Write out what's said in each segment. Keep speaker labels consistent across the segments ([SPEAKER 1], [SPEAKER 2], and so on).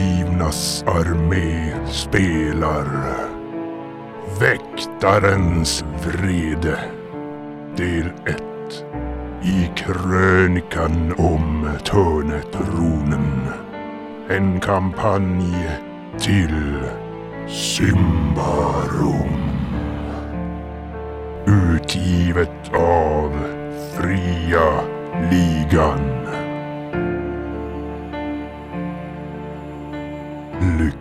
[SPEAKER 1] Lejonernas armé spelar Väktarens vrede Del 1 I krönikan om Törnetronen En kampanj till Symbarum Utgivet av Fria Ligan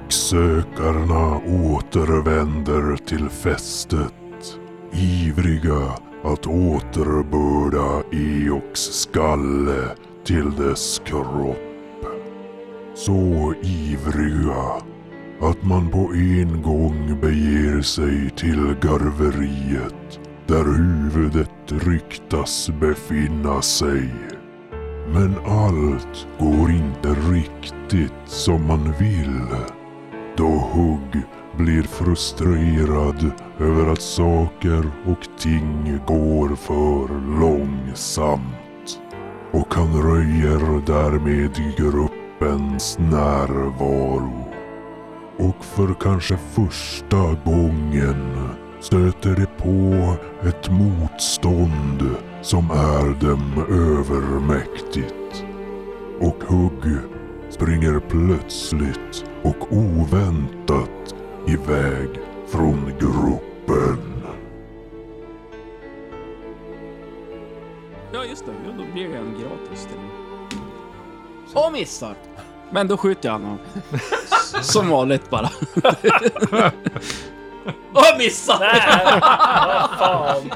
[SPEAKER 1] Lycksökarna återvänder till fästet, ivriga att återbörda Eoks skalle till dess kropp. Så ivriga att man på en gång beger sig till garveriet där huvudet ryktas befinna sig. Men allt går inte riktigt som man vill. Då Hugg blir frustrerad över att saker och ting går för långsamt. Och han röjer därmed gruppens närvaro. Och för kanske första gången stöter de på ett motstånd som är dem övermäktigt. Och Hugg springer plötsligt och oväntat iväg från gruppen.
[SPEAKER 2] Ja just det, ja, då blir det en gratis till Och missar! Men då skjuter jag honom. Som vanligt bara. Och missar!
[SPEAKER 3] Fan.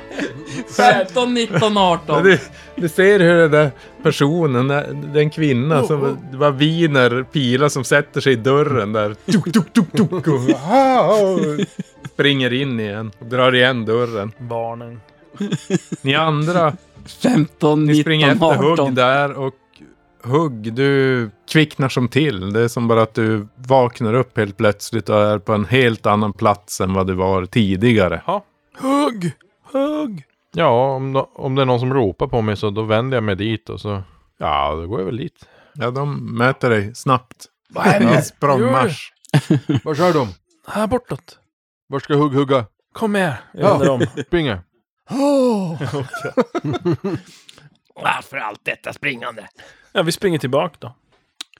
[SPEAKER 2] 15, 19, 18.
[SPEAKER 4] Du, du ser hur den där personen, den kvinna som det var viner pilar som sätter sig i dörren där. Tuk, tuk, tuk, tuk, och, ah, och springer in igen och drar igen dörren.
[SPEAKER 3] Barnen.
[SPEAKER 4] Ni andra,
[SPEAKER 2] 15,
[SPEAKER 4] ni springer
[SPEAKER 2] 19,
[SPEAKER 4] efter Hugg
[SPEAKER 2] 18.
[SPEAKER 4] där och Hugg, du kvicknar som till. Det är som bara att du vaknar upp helt plötsligt och är på en helt annan plats än vad du var tidigare.
[SPEAKER 5] Hugg! Hugg!
[SPEAKER 6] Ja, om, nå- om det är någon som ropar på mig så då vänder jag mig dit och så... Ja, då går jag väl dit.
[SPEAKER 4] Ja, de möter dig snabbt.
[SPEAKER 5] Vad är
[SPEAKER 4] Ja,
[SPEAKER 5] det?
[SPEAKER 4] språngmarsch.
[SPEAKER 5] Var kör de? Här bortåt.
[SPEAKER 6] Var ska Hugg hugga?
[SPEAKER 5] Kom här.
[SPEAKER 6] Ja.
[SPEAKER 3] Undrar om...
[SPEAKER 6] Springa.
[SPEAKER 5] Åh!
[SPEAKER 3] Varför allt detta springande? Ja, vi springer tillbaka då.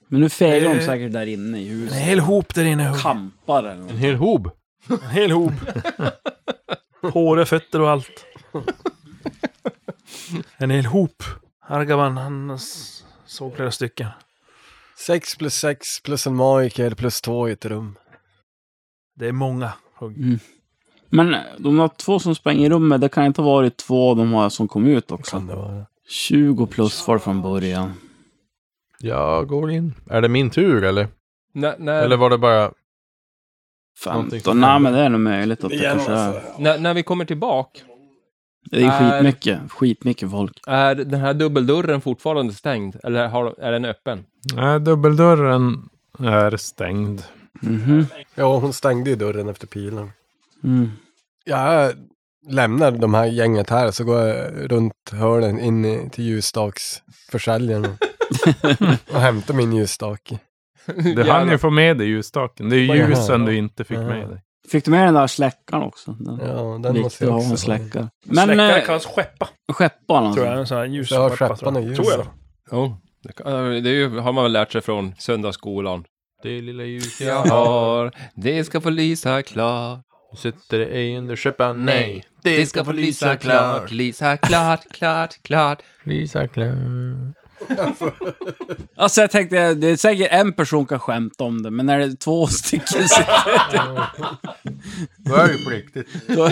[SPEAKER 2] Men nu fegar de säkert där inne i huset.
[SPEAKER 5] En hel hop där inne. Hugg.
[SPEAKER 2] Kampar eller något.
[SPEAKER 6] En hel hob.
[SPEAKER 3] En hel hop. Håre, fötter och allt. En hel hop. Argaban, han s- såg flera stycken.
[SPEAKER 5] Sex plus sex plus en magiker plus två i ett rum.
[SPEAKER 3] Det är många hugg.
[SPEAKER 2] Mm. Men eh, de har två som sprang i rummet. Det kan inte ha varit två de har som kom ut också.
[SPEAKER 5] Kan det vara.
[SPEAKER 2] 20 plus var det från början.
[SPEAKER 6] Jag går in. Är det min tur eller?
[SPEAKER 7] När, när,
[SPEAKER 8] Eh,
[SPEAKER 6] Eller var det bara...
[SPEAKER 2] 15. Nej, men det är nog möjligt att det kanske är.
[SPEAKER 7] när, när vi kommer tillbaka,
[SPEAKER 2] Det är
[SPEAKER 7] Är-
[SPEAKER 2] skitmycket. Skitmycket folk.
[SPEAKER 7] är den här dubbeldörren fortfarande stängd? Eller har, är den öppen?
[SPEAKER 4] Nej, dubbeldörren är stängd.
[SPEAKER 2] Mhm.
[SPEAKER 5] Ja, hon stängde ju dörren efter pilen.
[SPEAKER 2] Mm.
[SPEAKER 5] Jag lämnar de här gänget här så går jag runt hörnen in i- till ljusstaksförsäljaren och- och hämtar min ljusstake.
[SPEAKER 4] Du hann ju få med dig ljusstaken. Det är ju
[SPEAKER 5] Jaha.
[SPEAKER 4] ljusen du inte fick
[SPEAKER 5] Ja.
[SPEAKER 4] med dig.
[SPEAKER 2] Fick du med den där släckaren också? Den
[SPEAKER 5] Ja, den måste
[SPEAKER 2] Viktigt att
[SPEAKER 5] jag
[SPEAKER 2] ha en
[SPEAKER 5] också ha.
[SPEAKER 2] släckare. Men
[SPEAKER 3] Släckare
[SPEAKER 2] eh,
[SPEAKER 3] kallas skeppa,
[SPEAKER 2] skeppan alltså.
[SPEAKER 3] tror jag. En sån här ljus
[SPEAKER 5] Ja,
[SPEAKER 3] skeppa,
[SPEAKER 5] skeppan
[SPEAKER 3] tror jag.
[SPEAKER 5] är ljus.
[SPEAKER 3] Tror jag.
[SPEAKER 7] Jo. Oh, Det, kan- det är ju, har man väl lärt sig från söndagsskolan.
[SPEAKER 6] Det lilla ljus
[SPEAKER 7] Jag har, det ska få lysa klart.
[SPEAKER 6] Sitter det ej under skäppan?
[SPEAKER 7] Nej. Det ska få lysa klart, lysa klart, klart, klart.
[SPEAKER 6] Lysa klart.
[SPEAKER 2] Alltså jag tänkte, det är säkert en person kan skämta om det, men när det är två stycken så,
[SPEAKER 6] Det är ju pliktigt.
[SPEAKER 2] då,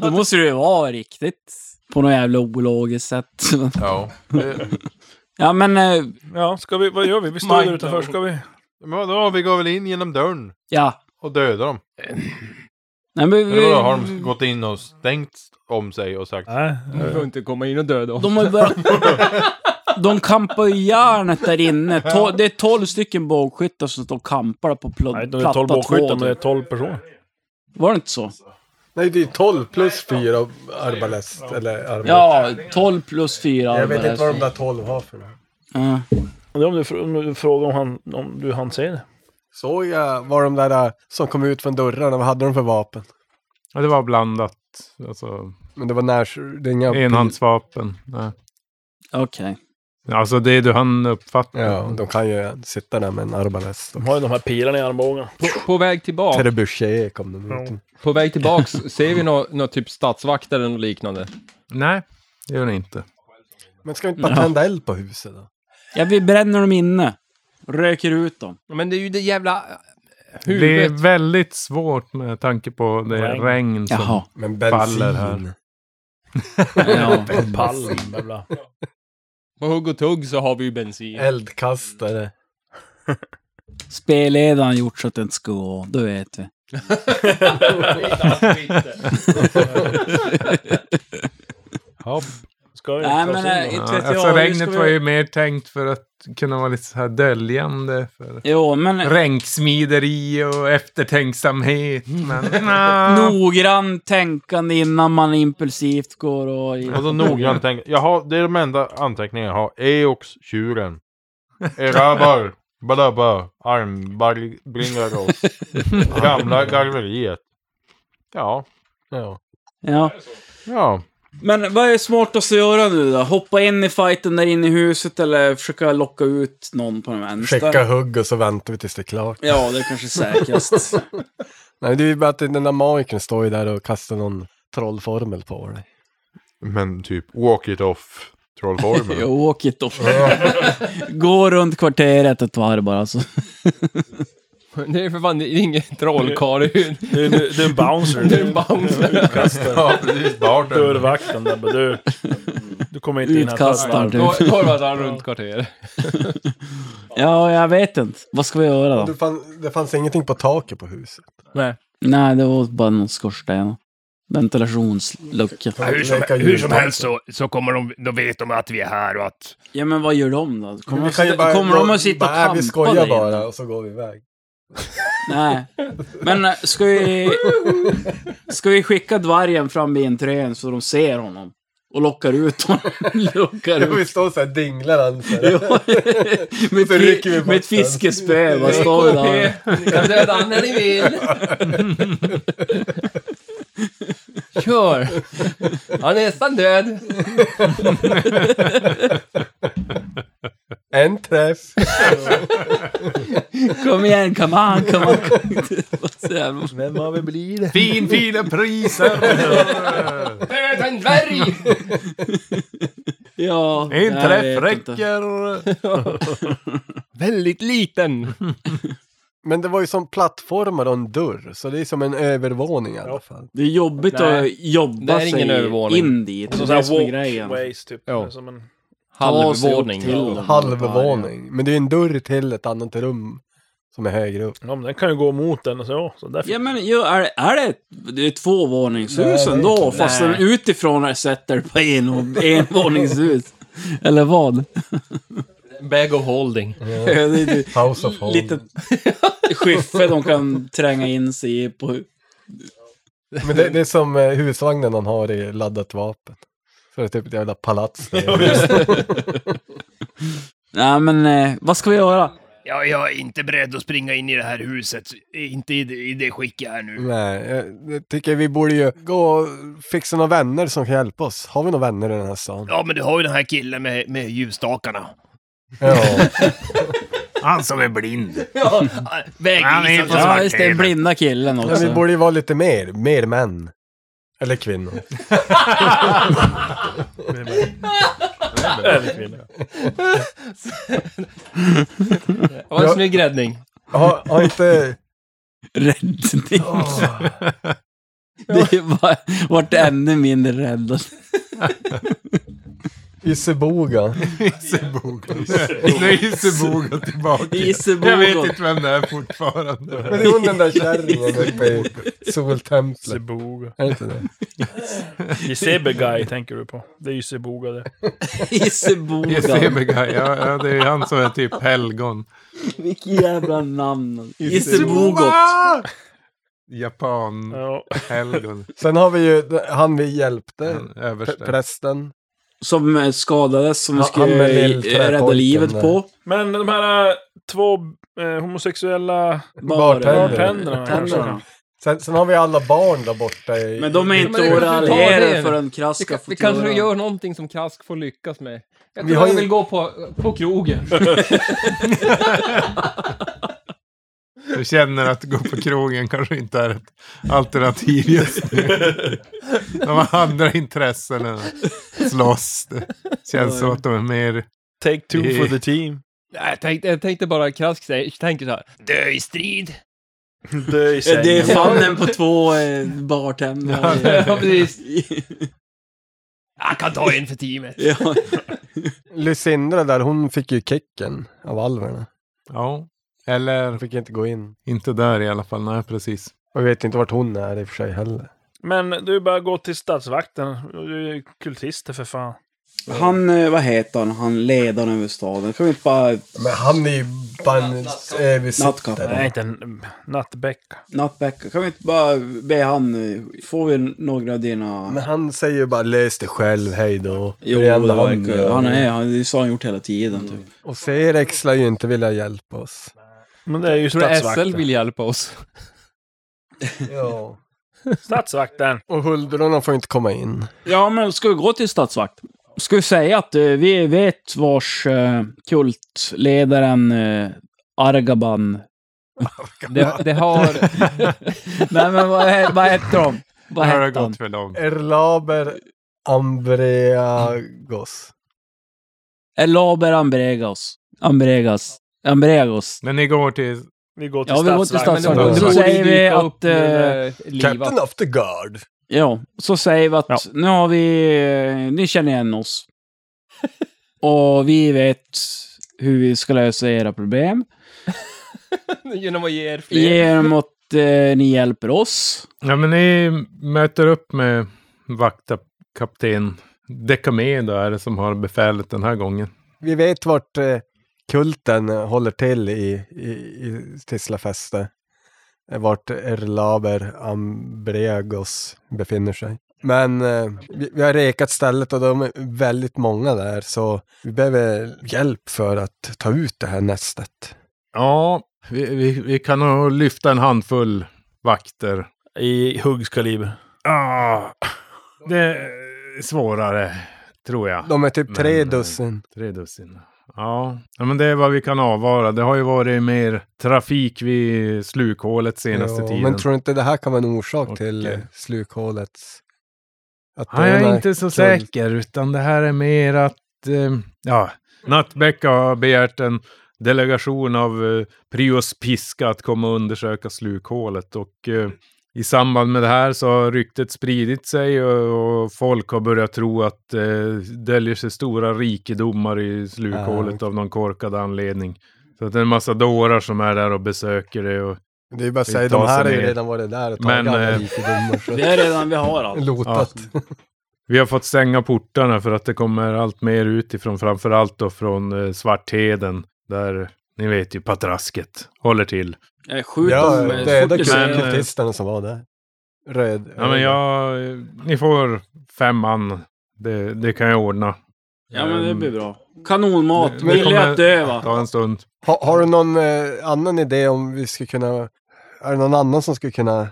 [SPEAKER 2] då måste det ju vara riktigt. På något jävla ologiskt sätt.
[SPEAKER 6] Ja. Eh,
[SPEAKER 2] Ja men, eh,
[SPEAKER 3] Ja, ska vi, vad gör vi? Vi står där utanför. Ska vi?
[SPEAKER 6] Men vadå, vi går väl in genom dörren
[SPEAKER 2] ja.
[SPEAKER 6] och dödar dem.
[SPEAKER 2] Nej, men,
[SPEAKER 6] Eller
[SPEAKER 2] vi,
[SPEAKER 6] vadå, har de gått in och stängt om sig och sagt...
[SPEAKER 3] Nej.
[SPEAKER 7] Du får inte komma in och döda oss.
[SPEAKER 2] de har ju börjat... De kampar ju järnet där inne. To, det är tolv stycken bågskyttar som står och kampar på pl-
[SPEAKER 3] Nej, de är
[SPEAKER 2] platta
[SPEAKER 3] 12 bågskyttar, men det
[SPEAKER 2] två.
[SPEAKER 3] är
[SPEAKER 2] typ.
[SPEAKER 3] 12 personer.
[SPEAKER 2] Var det inte så?
[SPEAKER 5] Nej, det är 12 plus 4 av arbalest. Eller arbalest.
[SPEAKER 2] Ja, 12 plus 4.
[SPEAKER 5] jag vet inte vad de där 12 har för något.
[SPEAKER 3] Det är om du, fr- om du frågar om, han, om du han säger det.
[SPEAKER 5] Såg jag vad de där äh, som kom ut från dörrarna, vad hade de för vapen?
[SPEAKER 4] Ja, det var blandat. Alltså,
[SPEAKER 5] Men det var när... Det är inga...
[SPEAKER 4] enhandsvapen. Ja.
[SPEAKER 2] Okej.
[SPEAKER 4] Alltså det du han uppfattar.
[SPEAKER 5] Ja, de kan ju sitta där med en arbalest. och
[SPEAKER 3] De har ju de här pilarna i armbågen.
[SPEAKER 7] På, på väg tillbaka,
[SPEAKER 5] Trebuchet kom de ut med.
[SPEAKER 7] på väg tillbaks ser vi något nå, typ statsvakter eller något liknande.
[SPEAKER 4] Nej, det gör det inte.
[SPEAKER 5] Men ska vi inte bara tända eld på huset då?
[SPEAKER 2] Ja, vi bränner dem inne. Röker ut dem.
[SPEAKER 7] Men det är ju det jävla
[SPEAKER 4] Det
[SPEAKER 7] huvudet.
[SPEAKER 4] är väldigt svårt med tanke på det
[SPEAKER 3] Regn.
[SPEAKER 4] regn, som...
[SPEAKER 2] Jaha.
[SPEAKER 5] Men
[SPEAKER 4] Faller
[SPEAKER 5] bensin.
[SPEAKER 4] här.
[SPEAKER 2] Ja.
[SPEAKER 3] Pallen, bla bla.
[SPEAKER 7] På hugg och tugg så har vi ju bensin.
[SPEAKER 5] Eldkastare.
[SPEAKER 2] Spelledaren gjort så att det inte ska gå, då vet vi.
[SPEAKER 6] Hopp.
[SPEAKER 3] Ska vi
[SPEAKER 2] Nej,
[SPEAKER 3] ta
[SPEAKER 2] men
[SPEAKER 3] oss in då?
[SPEAKER 2] nej, inte
[SPEAKER 4] Ja,
[SPEAKER 2] vet
[SPEAKER 4] alltså
[SPEAKER 2] jag. hur ska
[SPEAKER 4] regnet
[SPEAKER 2] vi-
[SPEAKER 4] var ju mer tänkt för att kunna vara lite så här döljande för
[SPEAKER 2] Jo, men
[SPEAKER 4] ränksmideri och eftertänksamhet. Men nja.
[SPEAKER 2] noggrant tänkande innan man impulsivt går och...
[SPEAKER 6] Och så noggrant tänk. Jag har, det är de enda anteckningarna jag har. Eox, tjuren. Erabar. Badabba. Armbringaros. Gamla garveriet. Ja.
[SPEAKER 5] Ja.
[SPEAKER 2] Ja.
[SPEAKER 6] Ja.
[SPEAKER 2] Men vad är smartast att göra nu då? Hoppa in i fighten där inne i huset eller försöka locka ut någon på den vänster?
[SPEAKER 5] Skicka hugg och så väntar vi tills det är klart.
[SPEAKER 2] Ja, det är kanske säkrast.
[SPEAKER 5] Nej, det är ju bara att den där magikern står ju där och kastar någon trollformel på dig.
[SPEAKER 6] Men typ walk it off. Trollformen.
[SPEAKER 2] Jag åker då. Gå runt kvarteret ett varv bara. alltså. Så.
[SPEAKER 7] Det är för fan det är ingen trollkarl. Det är ju-
[SPEAKER 3] Det är, det är en bouncer.
[SPEAKER 7] det är en bouncer.
[SPEAKER 6] Ja, precis. Bartender.
[SPEAKER 3] Dörrvakten där. bara, Du, du kommer inte in här.
[SPEAKER 2] Utkastar
[SPEAKER 7] Då
[SPEAKER 2] du.
[SPEAKER 7] då har det varit han runt kvarteret.
[SPEAKER 2] Ja, jag vet inte. Vad ska vi göra
[SPEAKER 5] Du
[SPEAKER 2] då?
[SPEAKER 5] fann, det fanns ingenting på taket på huset.
[SPEAKER 2] Nej, det var bara någon skorsten. Ventilationslucka.
[SPEAKER 5] Ja, hur som- Leka
[SPEAKER 9] Hur som
[SPEAKER 5] jultomte.
[SPEAKER 9] helst så, så kommer de, då vet de att vi är här och att...
[SPEAKER 2] Ja, men vad gör de då? Kommer,
[SPEAKER 5] Vi
[SPEAKER 2] de,
[SPEAKER 5] kan ju
[SPEAKER 2] sitta-
[SPEAKER 5] bara
[SPEAKER 2] kommer
[SPEAKER 5] gå-
[SPEAKER 2] de att sitta och
[SPEAKER 5] bara, "Nej,
[SPEAKER 2] kampa
[SPEAKER 5] Vi skojar
[SPEAKER 2] där inne?
[SPEAKER 5] bara och så går vi iväg.
[SPEAKER 2] Nej. Men äh, ska vi... Ska vi skicka dvärgen fram vid entrén så de ser honom? Och lockar ut honom. lockar
[SPEAKER 5] Ja, vi
[SPEAKER 2] ut.
[SPEAKER 5] står såhär dinglar han så här.
[SPEAKER 2] Ja, med, ett
[SPEAKER 5] Så rycker vi
[SPEAKER 2] fi-
[SPEAKER 5] bort
[SPEAKER 2] med ett
[SPEAKER 5] den.
[SPEAKER 2] fiskespö, vad står vi där?
[SPEAKER 7] Ni kan döda han när ni vill. Kör! Han är nästan död.
[SPEAKER 5] En träff.
[SPEAKER 2] Kom igen, come on, come on. Vad säger de?
[SPEAKER 9] Vem har vi blivit?
[SPEAKER 4] Fin, fina priser!
[SPEAKER 7] Död en dvärg!
[SPEAKER 2] ja,
[SPEAKER 4] En
[SPEAKER 2] jag
[SPEAKER 4] träff
[SPEAKER 2] vet inte.
[SPEAKER 4] räcker!
[SPEAKER 7] Väldigt liten.
[SPEAKER 5] Men det var ju som plattformar och en dörr, så det är som en övervåning i alla fall.
[SPEAKER 2] Det är jobbigt att
[SPEAKER 7] Det
[SPEAKER 2] jobba
[SPEAKER 7] är ingen
[SPEAKER 2] sig
[SPEAKER 7] övervåning.
[SPEAKER 2] in dit. Det
[SPEAKER 3] Som
[SPEAKER 2] är
[SPEAKER 3] så
[SPEAKER 2] det som är
[SPEAKER 3] här
[SPEAKER 2] grejen.
[SPEAKER 3] walkways typ.
[SPEAKER 7] Ja.
[SPEAKER 3] Som en...
[SPEAKER 2] Ta sig upp
[SPEAKER 7] Halvvåning.
[SPEAKER 2] till dem.
[SPEAKER 5] Halvvåning. Men det är en dörr till ett annat rum som är högre upp.
[SPEAKER 3] Ja, men den kan ju gå mot den och så. ja, så där fick-
[SPEAKER 2] Ja men ju, är, är det, det är tvåvåningshus
[SPEAKER 5] Nej,
[SPEAKER 2] ändå, fast den
[SPEAKER 3] Nej.
[SPEAKER 2] utifrån är sätter på en och envåningshus. Eller vad?
[SPEAKER 7] Bag of holding.
[SPEAKER 2] Det är ett
[SPEAKER 5] House of Home.
[SPEAKER 2] litet skyffe de kan tränga in sig i på...
[SPEAKER 5] Men det, det är som eh, husvagnen han har i laddat vapen. Så det är typ ett jävla palats där.
[SPEAKER 2] Nej men, eh, vad ska vi göra?
[SPEAKER 9] Ja, jag är inte beredd att springa in i det här huset. Inte i det, i det skick jag är nu.
[SPEAKER 5] Nej, jag, jag tycker vi borde ju gå och fixa några vänner som kan hjälpa oss. Har vi några vänner i den här stan?
[SPEAKER 9] Ja, men du har ju den här killen med, med ljusstakarna.
[SPEAKER 5] Ja.
[SPEAKER 9] Han som är blind. Ja,
[SPEAKER 2] Ja,
[SPEAKER 9] vägvisaren.
[SPEAKER 2] ja just det, den blinda killen
[SPEAKER 5] Men vi
[SPEAKER 2] också.
[SPEAKER 5] borde ju vara lite mer, mer män. Eller kvinnor.
[SPEAKER 7] Det var en
[SPEAKER 5] Ja.
[SPEAKER 7] snygg räddning.
[SPEAKER 5] Har, har inte...
[SPEAKER 2] Räddning.
[SPEAKER 5] Åh.
[SPEAKER 2] Det är bara, vart ännu mindre rädd.
[SPEAKER 5] Ysseboga.
[SPEAKER 4] Nu är Seboga tillbaka. Jag vet
[SPEAKER 2] Isebogon.
[SPEAKER 4] inte vem det är fortfarande.
[SPEAKER 5] Men det är hon den där kärringen uppe i soltemplet.
[SPEAKER 3] Seboga.
[SPEAKER 5] Är det inte det?
[SPEAKER 3] Gisebegai tänker du på. Det är ju Seboga det.
[SPEAKER 2] Isebogon.
[SPEAKER 4] Jesebegai, ja, ja, det är ju han som är typ helgon.
[SPEAKER 2] Vilket jävla namn. Isebogot.
[SPEAKER 4] Japan,
[SPEAKER 3] Ja.
[SPEAKER 4] helgon,
[SPEAKER 5] Sen har vi ju han vi hjälpte.
[SPEAKER 4] den
[SPEAKER 5] Eh, pr-
[SPEAKER 4] överste.
[SPEAKER 5] Prästen.
[SPEAKER 2] Som eh, skadades, som vi
[SPEAKER 5] Ja, han
[SPEAKER 2] skulle
[SPEAKER 5] med
[SPEAKER 2] eh,
[SPEAKER 5] lillträpojken
[SPEAKER 2] rädda livet
[SPEAKER 5] där.
[SPEAKER 2] på.
[SPEAKER 3] Men de här eh, två eh, homosexuella
[SPEAKER 5] Bartender.
[SPEAKER 3] bartenderna kanske.
[SPEAKER 2] Tänderna.
[SPEAKER 5] Sen, sen har vi alla barn där borta i...
[SPEAKER 2] Men de är
[SPEAKER 8] men det
[SPEAKER 2] inte
[SPEAKER 8] kan vi ta
[SPEAKER 2] oralierade
[SPEAKER 8] det.
[SPEAKER 2] förrän Krask
[SPEAKER 8] Vi,
[SPEAKER 2] ska
[SPEAKER 8] kan,
[SPEAKER 2] få
[SPEAKER 8] vi kanske
[SPEAKER 2] tura.
[SPEAKER 8] gör någonting som Krask får lyckas med. Jag
[SPEAKER 5] Vi
[SPEAKER 8] tror
[SPEAKER 5] har
[SPEAKER 8] han
[SPEAKER 5] ju-
[SPEAKER 8] vill gå på, på krogen.
[SPEAKER 4] Du känner att gå på krogen kanske inte är ett alternativ just nu. De har andra intressen än att slåss. Det känns som att de är mer...
[SPEAKER 10] Take two for the team.
[SPEAKER 8] Nej, Jag tänkte, jag tänkte bara Krask säger, tänker så här.
[SPEAKER 9] Dö i strid.
[SPEAKER 10] Dö i
[SPEAKER 2] Eh, Det är
[SPEAKER 10] sängen.
[SPEAKER 2] fannen på två eh, bartendrar.
[SPEAKER 8] Ja, precis.
[SPEAKER 9] Jag kan ta en för teamet.
[SPEAKER 2] ja.
[SPEAKER 5] Lucinda där, hon fick ju kicken av alverna.
[SPEAKER 4] Ja. Eller
[SPEAKER 5] Hon fick inte gå in.
[SPEAKER 4] inte där i alla fall. Nej, precis.
[SPEAKER 5] Och vi vet inte vart hon är i och för sig heller.
[SPEAKER 3] Men du bara gå till stadsvakten. Du är ju kultister för fan.
[SPEAKER 2] Han, eh, vad heter han, han ledaren över staden. Kan vi inte bara...
[SPEAKER 5] Men han är ju bara en eh,
[SPEAKER 2] Nattkappa.
[SPEAKER 3] Nej,
[SPEAKER 5] översittare.
[SPEAKER 3] inte en mm, nattbäcka.
[SPEAKER 2] Nattbäck, kan vi inte bara be han... eh, Får vi några av dina...
[SPEAKER 5] Men han säger ju bara lös det själv, hej då.
[SPEAKER 2] Jo,
[SPEAKER 5] det
[SPEAKER 2] det
[SPEAKER 5] enda han
[SPEAKER 2] verkar,
[SPEAKER 5] gör.
[SPEAKER 2] han är, han, det är så han gjort hela tiden typ.
[SPEAKER 5] Och Serex lär ju inte vilja hjälpa oss.
[SPEAKER 3] Men det är ju
[SPEAKER 8] Jag tror SL
[SPEAKER 3] stadsvakten.
[SPEAKER 8] vill hjälpa oss.
[SPEAKER 5] Ja.
[SPEAKER 3] Stadsvakten.
[SPEAKER 5] Och huldrorna får inte komma in.
[SPEAKER 2] Ja, men ska vi gå till stadsvakt? Ska vi säga att eh, vi vet vars eh, kultledaren eh, Argaban...
[SPEAKER 8] Det, det har...
[SPEAKER 2] Nej, men vad, he- vad hette de? Vad
[SPEAKER 4] Det har
[SPEAKER 2] hette han?
[SPEAKER 4] gått för långt.
[SPEAKER 5] Erlaber Ambreagos.
[SPEAKER 2] Elaber Ambregas. Ambregas. Ambregos.
[SPEAKER 4] Men ni går till...
[SPEAKER 3] Vi går till
[SPEAKER 2] Ja, vi går till
[SPEAKER 3] stadsvakten.
[SPEAKER 2] stadsvakten.
[SPEAKER 8] det
[SPEAKER 2] Så
[SPEAKER 8] borde
[SPEAKER 2] säger vi
[SPEAKER 8] dyka
[SPEAKER 2] att,
[SPEAKER 8] upp nu när livat.
[SPEAKER 5] Captain of the Guard.
[SPEAKER 2] Ja, så säger vi att
[SPEAKER 3] Ja.
[SPEAKER 2] nu har vi... eh, Ni känner igen oss. Och vi vet hur vi ska lösa era problem.
[SPEAKER 8] Genom att ge er fler.
[SPEAKER 2] Genom att eh, ni hjälper oss.
[SPEAKER 4] Ja, men ni möter upp med vaktkapten Decamedo är det som har befälet den här gången.
[SPEAKER 5] Vi vet vart eh, kulten eh, håller till i, i, i Tislafäste. Eh, Vart Erlaber Ambreagos befinner sig. Men eh, vi, vi har rekat stället och de är väldigt många där så vi behöver hjälp för att ta ut det här nästet.
[SPEAKER 4] Ja, vi, vi, vi kan nog lyfta en handfull vakter.
[SPEAKER 10] I huggskaliber.
[SPEAKER 4] Ah, det är svårare, tror jag.
[SPEAKER 5] De är typ tre
[SPEAKER 4] Men, eh,
[SPEAKER 5] dussin.
[SPEAKER 4] Tre dussin. Ja. ja, men det är vad vi kan avvara. Det har ju varit mer trafik vid slukhålet senaste
[SPEAKER 5] Ja,
[SPEAKER 4] tiden.
[SPEAKER 5] Men tror du inte det här kan vara en orsak
[SPEAKER 4] Och,
[SPEAKER 5] till eh,
[SPEAKER 4] eh,
[SPEAKER 5] slukhålets... Att
[SPEAKER 4] Ja, jag
[SPEAKER 5] den
[SPEAKER 4] är
[SPEAKER 5] här
[SPEAKER 4] inte så
[SPEAKER 5] kull-
[SPEAKER 4] säker, utan det här är mer att... Eh, ja, Nattbäcka har begärt en delegation av eh, Prius Piska att komma och undersöka slukhålet. Och eh, i samband med det här så har ryktet spridit sig och, och folk har börjat tro att eh, döljer sig stora rikedomar i slukhålet av någon korkad anledning. Så att det är en massa dårar som är där och besöker det. Och,
[SPEAKER 5] Det är ju bara att
[SPEAKER 4] Vi
[SPEAKER 5] säga,
[SPEAKER 4] tar
[SPEAKER 5] de här
[SPEAKER 4] sig
[SPEAKER 5] har ju
[SPEAKER 4] ner.
[SPEAKER 5] redan varit där och tagit
[SPEAKER 4] Men,
[SPEAKER 5] alla
[SPEAKER 4] eh,
[SPEAKER 5] rikedomar. så-
[SPEAKER 2] Vi är redan, vi har alltså. allt.
[SPEAKER 5] Lotat.
[SPEAKER 4] Vi har fått stänga portarna för att det kommer allt mer utifrån, framförallt då från eh, Svartheden, där ni vet ju patrasket håller till.
[SPEAKER 2] Eh, Skjut
[SPEAKER 5] ja,
[SPEAKER 2] dem. eh,
[SPEAKER 5] det är
[SPEAKER 2] fort
[SPEAKER 5] de
[SPEAKER 2] du ser dem.
[SPEAKER 4] Men, eh,
[SPEAKER 5] kultisterna som var där. Röd.
[SPEAKER 4] Ja, men jag, eh, ni får fem man, det, det kan jag ordna. Ehm,
[SPEAKER 2] Ja, men det blir bra. Kanonmat.
[SPEAKER 4] Men-
[SPEAKER 2] Billig att dö, va?
[SPEAKER 4] Ta en stund.
[SPEAKER 5] ha, har du någon eh, annan idé om vi skulle kunna... Är det någon annan som skulle kunna eh,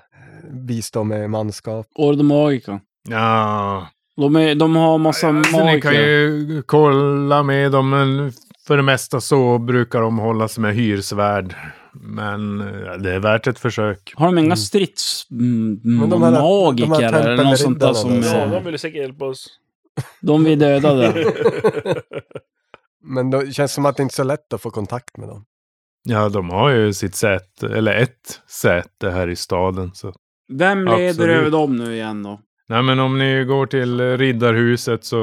[SPEAKER 5] bistå med manskap?
[SPEAKER 2] Ordo Magica.
[SPEAKER 4] Ja,
[SPEAKER 2] De, är, de har massa
[SPEAKER 4] alltså, ni
[SPEAKER 2] magiker.
[SPEAKER 4] kan ju kolla med dem, men för det mesta så brukar de hållas med hyresvärd. Men eh, det är värt ett försök.
[SPEAKER 2] Har de inga stridsmagiker
[SPEAKER 5] Mm. Men de här- de här
[SPEAKER 2] eller något sånt där som...
[SPEAKER 5] tempelriddarna
[SPEAKER 3] Ja,
[SPEAKER 2] eh,
[SPEAKER 5] där.
[SPEAKER 3] de ville säkert hjälpa oss.
[SPEAKER 2] De vi dödade.
[SPEAKER 5] Men då, det känns som att det inte är så lätt att få kontakt med dem.
[SPEAKER 4] Ja, de har ju sitt säte, eller ett säte här i staden. Så
[SPEAKER 2] Vem leder
[SPEAKER 4] Absolut.
[SPEAKER 2] över dem nu igen då?
[SPEAKER 4] Nej men om ni går till eh, Riddarhuset så,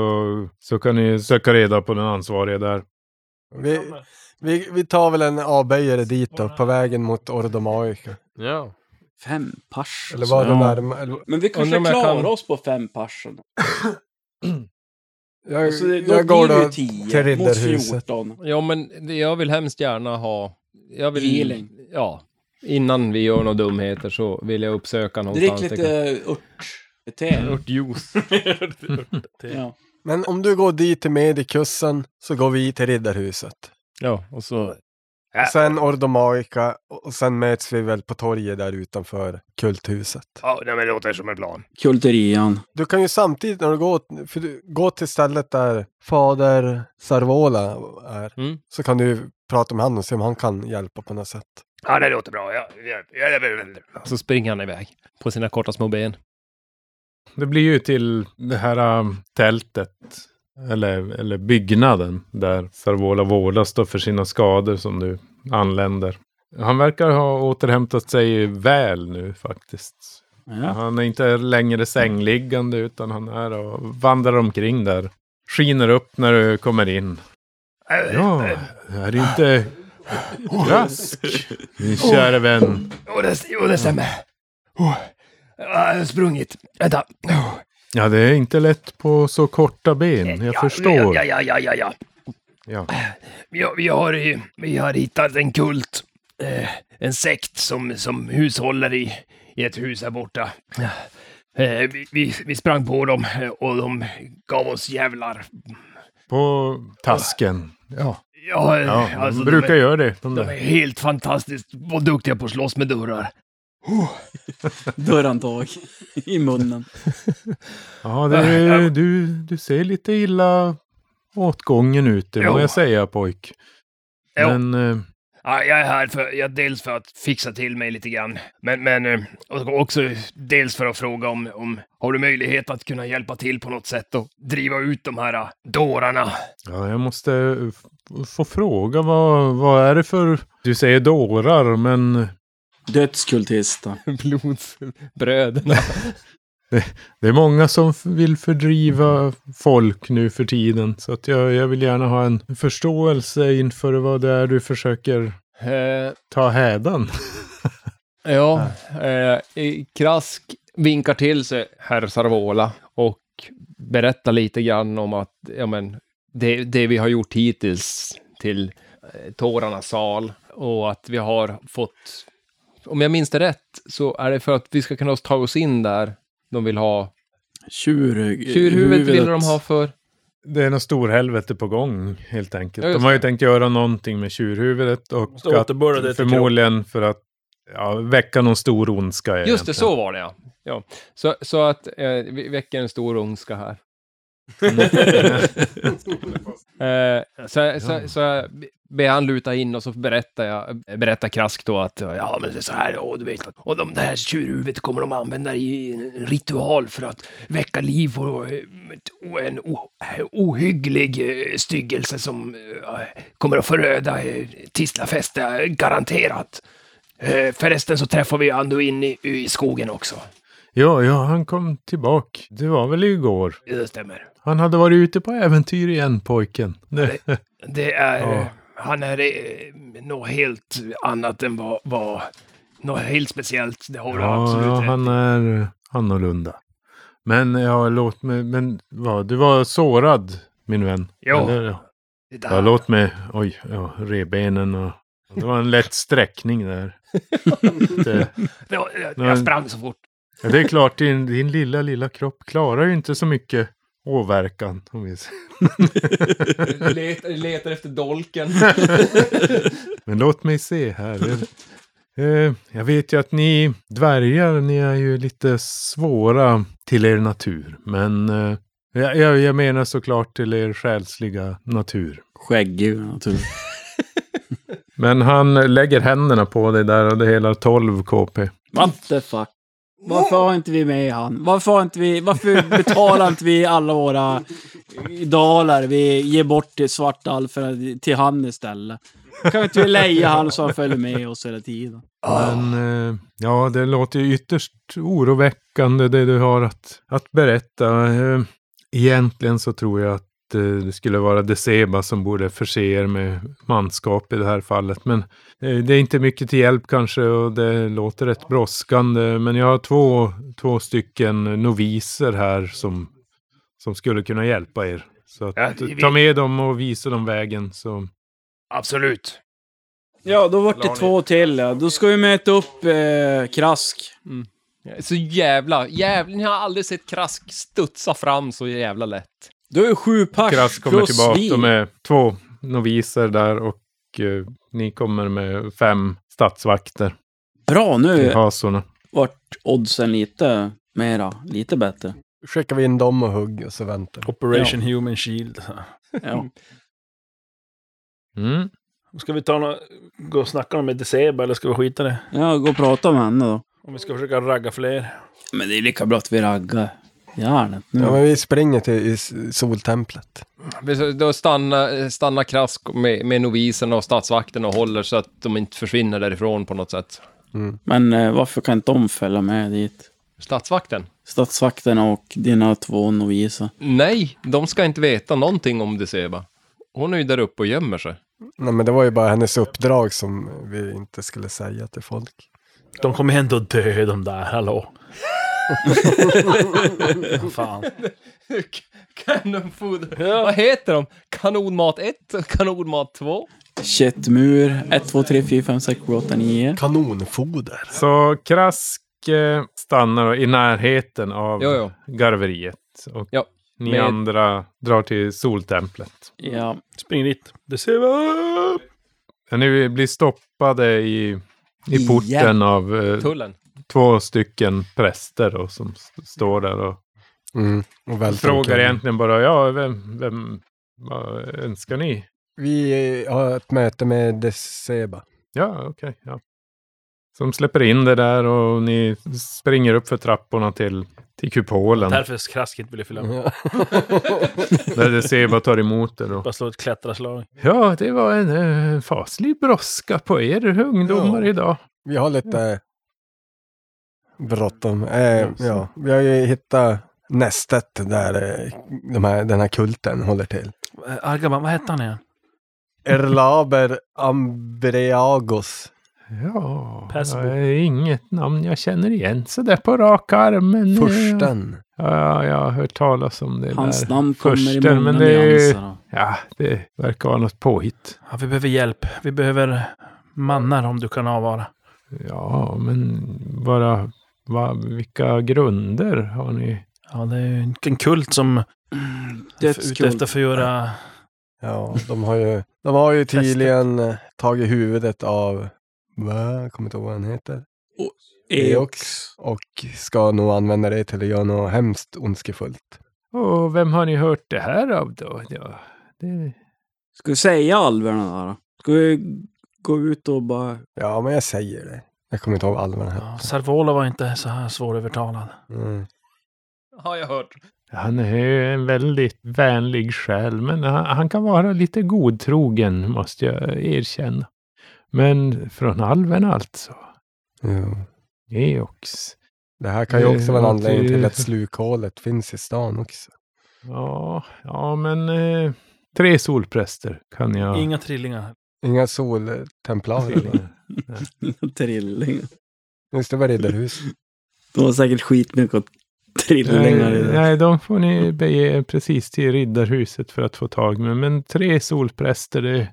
[SPEAKER 4] så kan ni söka reda på den ansvariga där.
[SPEAKER 3] Eh,
[SPEAKER 5] Vi, vi, vi tar väl en avböjare dit då, på vägen mot Ordomaica.
[SPEAKER 6] Ja.
[SPEAKER 2] Fem pers?
[SPEAKER 5] Eller var det
[SPEAKER 2] alltså. Ja.
[SPEAKER 5] närmare?
[SPEAKER 2] Men vi kanske
[SPEAKER 5] Undrar om jag
[SPEAKER 2] klarar
[SPEAKER 5] kan-
[SPEAKER 2] oss på fem pers. ändå.
[SPEAKER 5] Jag,
[SPEAKER 2] Alltså, det-
[SPEAKER 5] jag går
[SPEAKER 2] blir det
[SPEAKER 5] då till
[SPEAKER 2] tio mot
[SPEAKER 5] Riddarhuset.
[SPEAKER 2] 14.
[SPEAKER 8] Ja, men det- jag vill hemskt gärna ha... Jag vill,
[SPEAKER 2] Healing.
[SPEAKER 8] Ja. Innan vi gör några dumheter så vill jag uppsöka någonstans.
[SPEAKER 2] Drick
[SPEAKER 8] det kan-
[SPEAKER 2] lite örtte.
[SPEAKER 10] Örtjuice.
[SPEAKER 2] Ja.
[SPEAKER 5] Men om du går dit till Medikussen så går vi till Riddarhuset.
[SPEAKER 8] Ja, och så
[SPEAKER 5] Sen Ordomaika och sen möts vi väl på torget där utanför kulthuset.
[SPEAKER 9] Ja, nej, men det låter som en plan.
[SPEAKER 2] Kulterian.
[SPEAKER 5] Du kan ju samtidigt när du går, för du går till stället där fader Sarvola är,
[SPEAKER 8] Mm.
[SPEAKER 5] så kan du ju prata med honom och se om han kan hjälpa på något sätt.
[SPEAKER 9] Ja, det låter bra. Ja, ja, ja, ja, ja.
[SPEAKER 8] Så springer han iväg på sina korta små ben.
[SPEAKER 4] Det blir ju till det här um, tältet. Eller, eller byggnaden där Sarvola vårdas då för sina skador som nu anländer. Han verkar ha återhämtat sig väl nu faktiskt.
[SPEAKER 2] Ja.
[SPEAKER 4] Han är inte längre sängliggande utan han är och vandrar omkring där. Skiner upp när du kommer in. Ja, är det inte rask, min kära vän?
[SPEAKER 9] Jo, det, jo, det stämmer. Oh. Jag har sprungit. Vänta. Oh.
[SPEAKER 4] Ja, det är inte lätt på så korta ben, jag
[SPEAKER 9] Ja,
[SPEAKER 4] förstår.
[SPEAKER 9] Ja, ja, ja, ja, ja.
[SPEAKER 4] Ja.
[SPEAKER 9] Vi, vi, har, eh, vi har hittat en kult. Eh, en sekt som, som hushåller i, i ett hus här borta. Eh, vi, vi, vi sprang på dem eh, och de gav oss jävlar.
[SPEAKER 4] På tasken. Ja,
[SPEAKER 9] Ja, eh,
[SPEAKER 4] ja
[SPEAKER 9] alltså,
[SPEAKER 4] de brukar
[SPEAKER 9] de, är,
[SPEAKER 4] göra det. De
[SPEAKER 9] de är
[SPEAKER 4] där.
[SPEAKER 9] helt fantastiskt vad duktiga på att slåss med dörrar.
[SPEAKER 2] Dörrhandtag i munnen.
[SPEAKER 4] Ja, det, du, du ser lite illa åtgången ut, det
[SPEAKER 9] Jo.
[SPEAKER 4] må jag säga pojk.
[SPEAKER 9] Jo.
[SPEAKER 4] Men eh,
[SPEAKER 9] Ja, jag är här för, jag, dels för att fixa till mig lite grann, men, men eh, och också dels för att fråga om, om har du möjlighet att kunna hjälpa till på något sätt och driva ut de här eh, dårarna?
[SPEAKER 4] ja, jag måste f- få fråga, vad, vad är det för... Du säger dårar, men
[SPEAKER 2] Dödskultista.
[SPEAKER 8] Bröderna.
[SPEAKER 4] det är många som f- vill fördriva folk nu för tiden. Så att jag, jag vill gärna ha en förståelse inför vad det är du försöker
[SPEAKER 8] Eh,
[SPEAKER 4] ta hädan.
[SPEAKER 8] ja, eh, i- Krask vinkar till sig herr Sarvola och berättar lite grann om att ja, men, det, det vi har gjort hittills till eh, tårarnas sal och att vi har fått, om jag minns det rätt, så är det för att vi ska kunna ta oss in där de vill ha.
[SPEAKER 2] Tjur,
[SPEAKER 8] Tjurhuvudet ville de ha för
[SPEAKER 4] Det är något storhelvete på gång helt enkelt.
[SPEAKER 8] Ja, just
[SPEAKER 4] De har ju
[SPEAKER 8] det.
[SPEAKER 4] tänkt göra någonting med tjurhuvudet och
[SPEAKER 3] Måste återbörda det till
[SPEAKER 4] förmodligen för att ja, väcka någon stor ondska.
[SPEAKER 8] Just det,
[SPEAKER 4] egentligen.
[SPEAKER 8] så var det ja. ja. Så, så att eh, vi väcker en stor ondska här. Mm. eh, så, så, så jag ber han luta in och så berättar jag, berättar Krask då att eh,
[SPEAKER 9] Ja, men det är så här, och du vet, och de där tjurhuvudet kommer de använda i en ritual för att väcka liv och eh, ett- och en o- eh, ohygglig eh, styggelse som eh, kommer att föröda eh, Tislafäste, eh, garanterat. Eh, Förresten så träffar vi Anduin i, i skogen också.
[SPEAKER 4] Ja, ja, han kom tillbaka. Det var väl igår.
[SPEAKER 9] Det stämmer.
[SPEAKER 4] Han hade varit ute på äventyr igen, pojken. Det,
[SPEAKER 9] Det är...
[SPEAKER 4] Ja.
[SPEAKER 9] eh, Han är eh, något helt annat än vad... vad något helt speciellt, det har du
[SPEAKER 4] ja,
[SPEAKER 9] absolut
[SPEAKER 4] ja,
[SPEAKER 9] rätt i.
[SPEAKER 4] han är annorlunda. Men ja, låt mig... Men vad, du var sårad, min vän.
[SPEAKER 9] Ja.
[SPEAKER 4] Eller,
[SPEAKER 9] Det
[SPEAKER 4] ja,
[SPEAKER 9] där-
[SPEAKER 4] låt mig... Oj, ja, revbenen och... Det var en lätt sträckning där. det,
[SPEAKER 9] det var- jag-
[SPEAKER 4] Men-
[SPEAKER 9] Jag sprang så fort.
[SPEAKER 4] Ja, det är klart, din, din lilla, lilla kropp klarar ju inte så mycket åverkan. om vi säger.
[SPEAKER 8] letar, letar efter dolken.
[SPEAKER 4] Men låt mig se här. Eh, Jag vet ju att ni dvärgar, ni är ju lite svåra till er natur. Men eh, jag, jag- jag menar såklart till er själsliga natur.
[SPEAKER 2] Skäggdjur naturligtvis.
[SPEAKER 4] Men han lägger händerna på dig där och det hela 12 KP.
[SPEAKER 2] What the fuck? Varför har inte vi med han? Varför, har inte vi, varför betalar inte vi alla våra dalar vi ger bort till Svartall för, till han istället? Kan inte vi leja han så han följer med oss hela tiden?
[SPEAKER 4] Men eh, ja, det låter ju ytterst oroväckande det du har att, att berätta. Eh, Egentligen så tror jag att eh, det skulle vara Deceba som borde förse er med manskap i det här fallet. Men eh, det är inte mycket till hjälp kanske och det låter rätt brådskande. Men jag har två, två stycken noviser här som, som skulle kunna hjälpa er. Så att,
[SPEAKER 9] Ja, vi-
[SPEAKER 4] ta med dem och visa dem vägen. Så.
[SPEAKER 9] Absolut.
[SPEAKER 2] Ja, då vart det två till. Ja. Då ska vi möta upp eh, Krask.
[SPEAKER 8] så jävla, jävla, ni har aldrig sett Krask studsa fram så jävla lätt.
[SPEAKER 2] Då är det sju pers
[SPEAKER 4] Krass kommer
[SPEAKER 2] plus
[SPEAKER 4] tillbaka.
[SPEAKER 2] vi.
[SPEAKER 4] De är två noviser där och och eh, ni kommer med fem statsvakter
[SPEAKER 2] Bra,
[SPEAKER 4] till
[SPEAKER 2] nu
[SPEAKER 4] hasorna.
[SPEAKER 2] vart oddsen lite mera, lite bättre.
[SPEAKER 5] Skickar vi in dem och hugg och så väntar vi.
[SPEAKER 10] Operation Human Shield.
[SPEAKER 2] Ja.
[SPEAKER 4] Mm.
[SPEAKER 3] Ska vi ta nå gå och snacka om Deceba eller ska vi skita i det?
[SPEAKER 2] ja, gå och prata med henne då.
[SPEAKER 3] Om vi ska försöka ragga fler.
[SPEAKER 2] Men det är lika bra att vi raggar järnet nu.
[SPEAKER 5] Ja, men vi springer till i s- soltemplet.
[SPEAKER 8] Precis, Då stannar, stannar Krask med, med novisen och statsvakten och håller så att de inte försvinner därifrån på något sätt.
[SPEAKER 2] Men eh, varför kan inte de följa med dit?
[SPEAKER 8] Statsvakten?
[SPEAKER 2] Statsvakterna och dina två noviser.
[SPEAKER 8] Nej, de ska inte veta någonting om Deceba. Hon är ju där uppe och gömmer sig.
[SPEAKER 5] Nej, men det var ju bara hennes uppdrag som vi inte skulle säga till folk.
[SPEAKER 10] De kommer ändå dö de där, hallå.
[SPEAKER 4] Mm.
[SPEAKER 10] Fan.
[SPEAKER 8] Cannon food. Vad heter de? Kanonmat 1 och kanonmat 2?
[SPEAKER 2] Köttmur, 1, 2, 3, 4, 5, 6, 7, 8, 9.
[SPEAKER 5] Kanonfoder.
[SPEAKER 4] Så Krask eh, stannar i närheten av
[SPEAKER 8] Jo, jo.
[SPEAKER 4] garveriet. Och
[SPEAKER 8] Ja,
[SPEAKER 4] ni
[SPEAKER 8] med-
[SPEAKER 4] andra drar till soltemplet.
[SPEAKER 2] Ja.
[SPEAKER 3] Spring dit. Deceba!
[SPEAKER 4] Men Ni blir stoppade i, i
[SPEAKER 2] Igen.
[SPEAKER 4] porten av eh,
[SPEAKER 8] Tullen.
[SPEAKER 4] två stycken präster då, som st- står där och
[SPEAKER 5] Mm. Och välter
[SPEAKER 4] frågar
[SPEAKER 5] omkull.
[SPEAKER 4] egentligen bara ja, vem, vem vad önskar ni?
[SPEAKER 5] Vi eh, har ett möte med Deceba.
[SPEAKER 4] Ja, okej. ja. Som släpper in det där och ni springer upp för trapporna till, till kupolen.
[SPEAKER 3] Därför Krask inte ville
[SPEAKER 4] Mm.
[SPEAKER 3] fylla med.
[SPEAKER 5] Ja.
[SPEAKER 4] Där det ser vad tar emot er då.
[SPEAKER 3] Bara slå ett klättraslag.
[SPEAKER 4] Ja, det var en eh, faslig brådska på er ungdomar
[SPEAKER 5] Ja.
[SPEAKER 4] idag.
[SPEAKER 5] Vi har lite bråttom. Eh, ja. Vi har ju hittat nästet där eh, de här, den här kulten håller till.
[SPEAKER 10] Argaban, vad hette han igen?
[SPEAKER 5] Erlaber Ambreagos.
[SPEAKER 4] Ja,
[SPEAKER 3] Pass på.
[SPEAKER 4] det är inget namn jag känner igen så där på rak arm. Men, eh,
[SPEAKER 5] Försten.
[SPEAKER 4] Ja, jag har hört talas om det
[SPEAKER 2] Hans
[SPEAKER 4] där.
[SPEAKER 2] namn kommer i
[SPEAKER 4] Försten,
[SPEAKER 2] många
[SPEAKER 4] men det är ju-
[SPEAKER 2] nyanser. då.
[SPEAKER 4] Ja, det verkar vara något påhitt.
[SPEAKER 10] Ja, vi behöver hjälp. Vi behöver mannar om du kan avvara.
[SPEAKER 4] Ja, men bara va, vilka grunder har ni?
[SPEAKER 10] Ja, det är ju en kult som är ute
[SPEAKER 2] Dödskult.
[SPEAKER 10] efter att förgöra...
[SPEAKER 5] Ja, de har ju, de har ju tydligen eh, tagit huvudet av, va? Jag kommer inte ihåg vad han heter. Eox. Och ska nog använda det till att göra något hemskt ondskefullt.
[SPEAKER 4] Och vem har ni hört det här av då? Ja, det...
[SPEAKER 2] Ska vi säga alverna där då? Ska vi gå ut och bara...
[SPEAKER 5] Ja, men jag säger det. Jag kommer inte ihåg alverna här.
[SPEAKER 10] Ja, Sarvola var inte så här svårövertalad.
[SPEAKER 5] Mm.
[SPEAKER 8] Har jag hört.
[SPEAKER 4] Han är ju en väldigt vänlig själ, men han, han kan vara lite godtrogen, måste jag erkänna. Men från alven alltså.
[SPEAKER 5] Jo.
[SPEAKER 4] Eox.
[SPEAKER 5] Det här kan ju också vara en
[SPEAKER 4] Ja,
[SPEAKER 5] anledning
[SPEAKER 4] det-
[SPEAKER 5] till att slukhålet finns i stan också.
[SPEAKER 4] Ja, ja men eh, tre solpräster kan jag...
[SPEAKER 10] Inga trillingar.
[SPEAKER 5] Inga soltemplarer.
[SPEAKER 2] Trillingar.
[SPEAKER 5] Just det, var riddarhus.
[SPEAKER 2] De har säkert skitmycket trillingar i
[SPEAKER 4] Nej,
[SPEAKER 2] det.
[SPEAKER 4] nej, de får ni bege er precis till Riddarhuset för att få tag med. Men tre solpräster, det,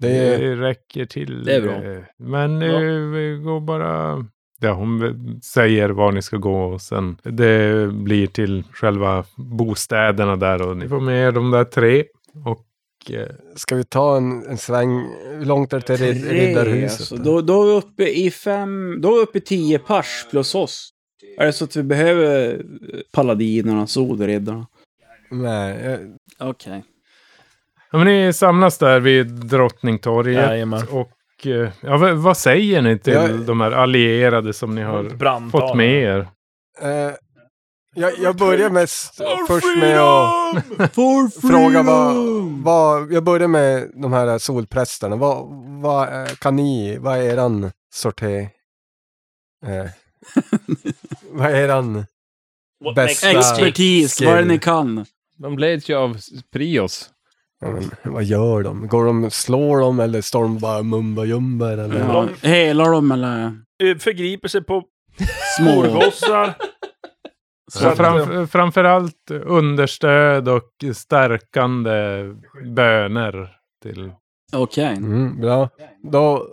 [SPEAKER 5] Det är,
[SPEAKER 4] det räcker till.
[SPEAKER 2] Det är bra.
[SPEAKER 4] eh, Men
[SPEAKER 2] Ja.
[SPEAKER 4] eh, gå bara... Ja, hon v- säger var ni ska gå och sen det blir till själva bostäderna där och ni får med er de där tre. Och eh,
[SPEAKER 5] ska vi ta en, en sväng? Hur långt är det till rid,
[SPEAKER 2] Tre,
[SPEAKER 5] riddarhuset?
[SPEAKER 2] alltså. Då, då är vi uppe i fem... Då är vi uppe i tio pers plus oss. Är det så att vi behöver eh, paladinerna, solriddarna?
[SPEAKER 5] Nej, eh,
[SPEAKER 2] Okej.
[SPEAKER 4] ja, men ni samlas där vid Drottningtorget.
[SPEAKER 10] Jajamän.
[SPEAKER 4] Och eh, ja, v- vad säger ni till
[SPEAKER 5] Jag-
[SPEAKER 4] de här allierade som ni har
[SPEAKER 3] Brandtal.
[SPEAKER 4] fått med er?
[SPEAKER 5] eh, jag, jag börjar mest först med att fråga vad, vad... Jag börjar med de här solprästerna. Vad, vad eh, kan ni... Vad är eran sorté? Eh, vad är eran... Bästa
[SPEAKER 2] Expertis, vad är det
[SPEAKER 5] skill.
[SPEAKER 2] ni kan?
[SPEAKER 8] De leds ju av Prios.
[SPEAKER 5] Ja, men, vad gör de? Går de, slår de eller står de bara mumba jumba eller?
[SPEAKER 2] Ja, helar dem eller
[SPEAKER 3] Eh, Förgriper sig på
[SPEAKER 2] små?
[SPEAKER 3] morgossar.
[SPEAKER 4] Så framf- framförallt understöd och stärkande böner till...
[SPEAKER 2] Okej.
[SPEAKER 5] Mm, bra. Då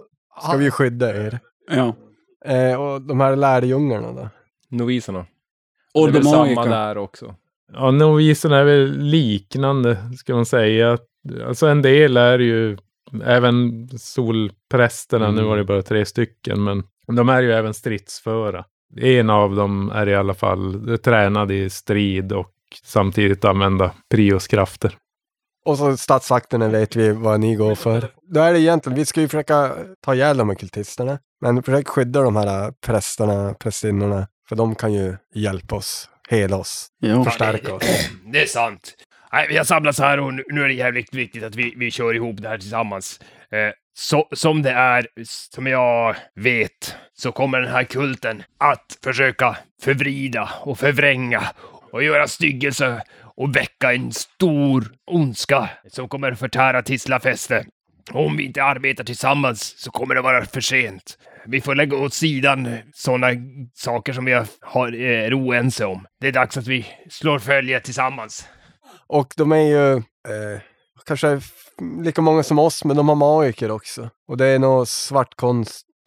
[SPEAKER 5] ska vi skydda er.
[SPEAKER 2] Ja.
[SPEAKER 5] Eh, och de här lärjungarna då?
[SPEAKER 8] Noviserna.
[SPEAKER 2] Och
[SPEAKER 8] det är
[SPEAKER 2] de
[SPEAKER 8] väl samma
[SPEAKER 2] magiker.
[SPEAKER 8] där också.
[SPEAKER 4] Ja, noviserna är väl liknande, ska man säga. Alltså en del är ju Även solprästerna,
[SPEAKER 5] Mm.
[SPEAKER 4] nu var det bara tre stycken, men de är ju även stridsföra. En av dem är i alla fall tränad i strid och samtidigt använda prioskrafter.
[SPEAKER 5] Och så statsakterna vet vi vad ni går för. Då är det egentligen, vi ska ju försöka ta ihjäl de här kultisterna. Men försök skydda de här prästerna, prästinnorna. För de kan ju hjälpa oss, hela oss,
[SPEAKER 2] Jo.
[SPEAKER 5] förstärka oss.
[SPEAKER 9] Det är sant. Nej, vi har samlats här och nu- nu är det jävligt viktigt att vi, vi kör ihop det här tillsammans. Eh, så, som det är, som jag vet, så kommer den här kulten att försöka förvrida och förvränga och göra styggelse och väcka en stor ondska som kommer förtära Tislafäste. Och Om vi inte arbetar tillsammans så kommer det vara för sent. Vi får lägga åt sidan sådana saker som vi har- har, är oense om. Det är dags att vi slår följe tillsammans.
[SPEAKER 5] Och de är ju eh, kanske f- lika många som oss, men de har magiker också. Och det är nog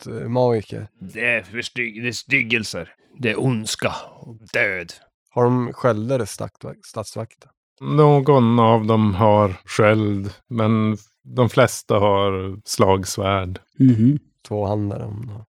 [SPEAKER 5] svartkonstmagiker.
[SPEAKER 9] Det är, för sty- det är styggelser. Det är ondska och död.
[SPEAKER 5] Har de sköldar i statvak- statsvakten?
[SPEAKER 4] Någon av dem har sköld, men de flesta har slagsvärd.
[SPEAKER 2] Mhm.
[SPEAKER 5] Tvåhandare om de har.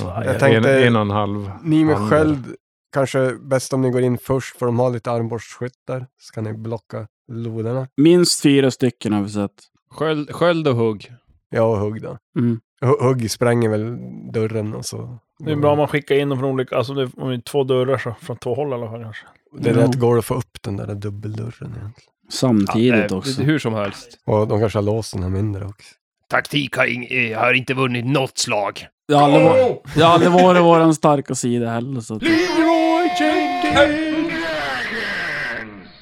[SPEAKER 4] Ja,
[SPEAKER 5] Jag tänkte-
[SPEAKER 4] en, en och en halv.
[SPEAKER 5] Ni med
[SPEAKER 4] hand.
[SPEAKER 5] sköld, kanske bäst om ni går in först, för de har lite armborstskyttar. Så kan ni blocka loderna.
[SPEAKER 2] Minst fyra stycken har vi sett.
[SPEAKER 8] Sköld, sköld och hugg.
[SPEAKER 5] Ja, och hugg då.
[SPEAKER 2] Mm.
[SPEAKER 5] Hu- Hugg spränger väl dörren och så...
[SPEAKER 3] Det är bra om man skickar in dem från olika, alltså det, om det är två dörrar så från två håll i alla fall kanske.
[SPEAKER 5] Det är
[SPEAKER 2] Ja.
[SPEAKER 5] rätt går att få upp den där dubbeldörren egentligen.
[SPEAKER 2] Samtidigt
[SPEAKER 8] Eh,
[SPEAKER 2] också.
[SPEAKER 8] Hur som helst.
[SPEAKER 5] Och de kanske har låst den här mindre också.
[SPEAKER 9] Taktik har, ing- eh, har inte vunnit något slag.
[SPEAKER 2] Det har aldrig, var, det har aldrig varit vår starka sida heller. Så att,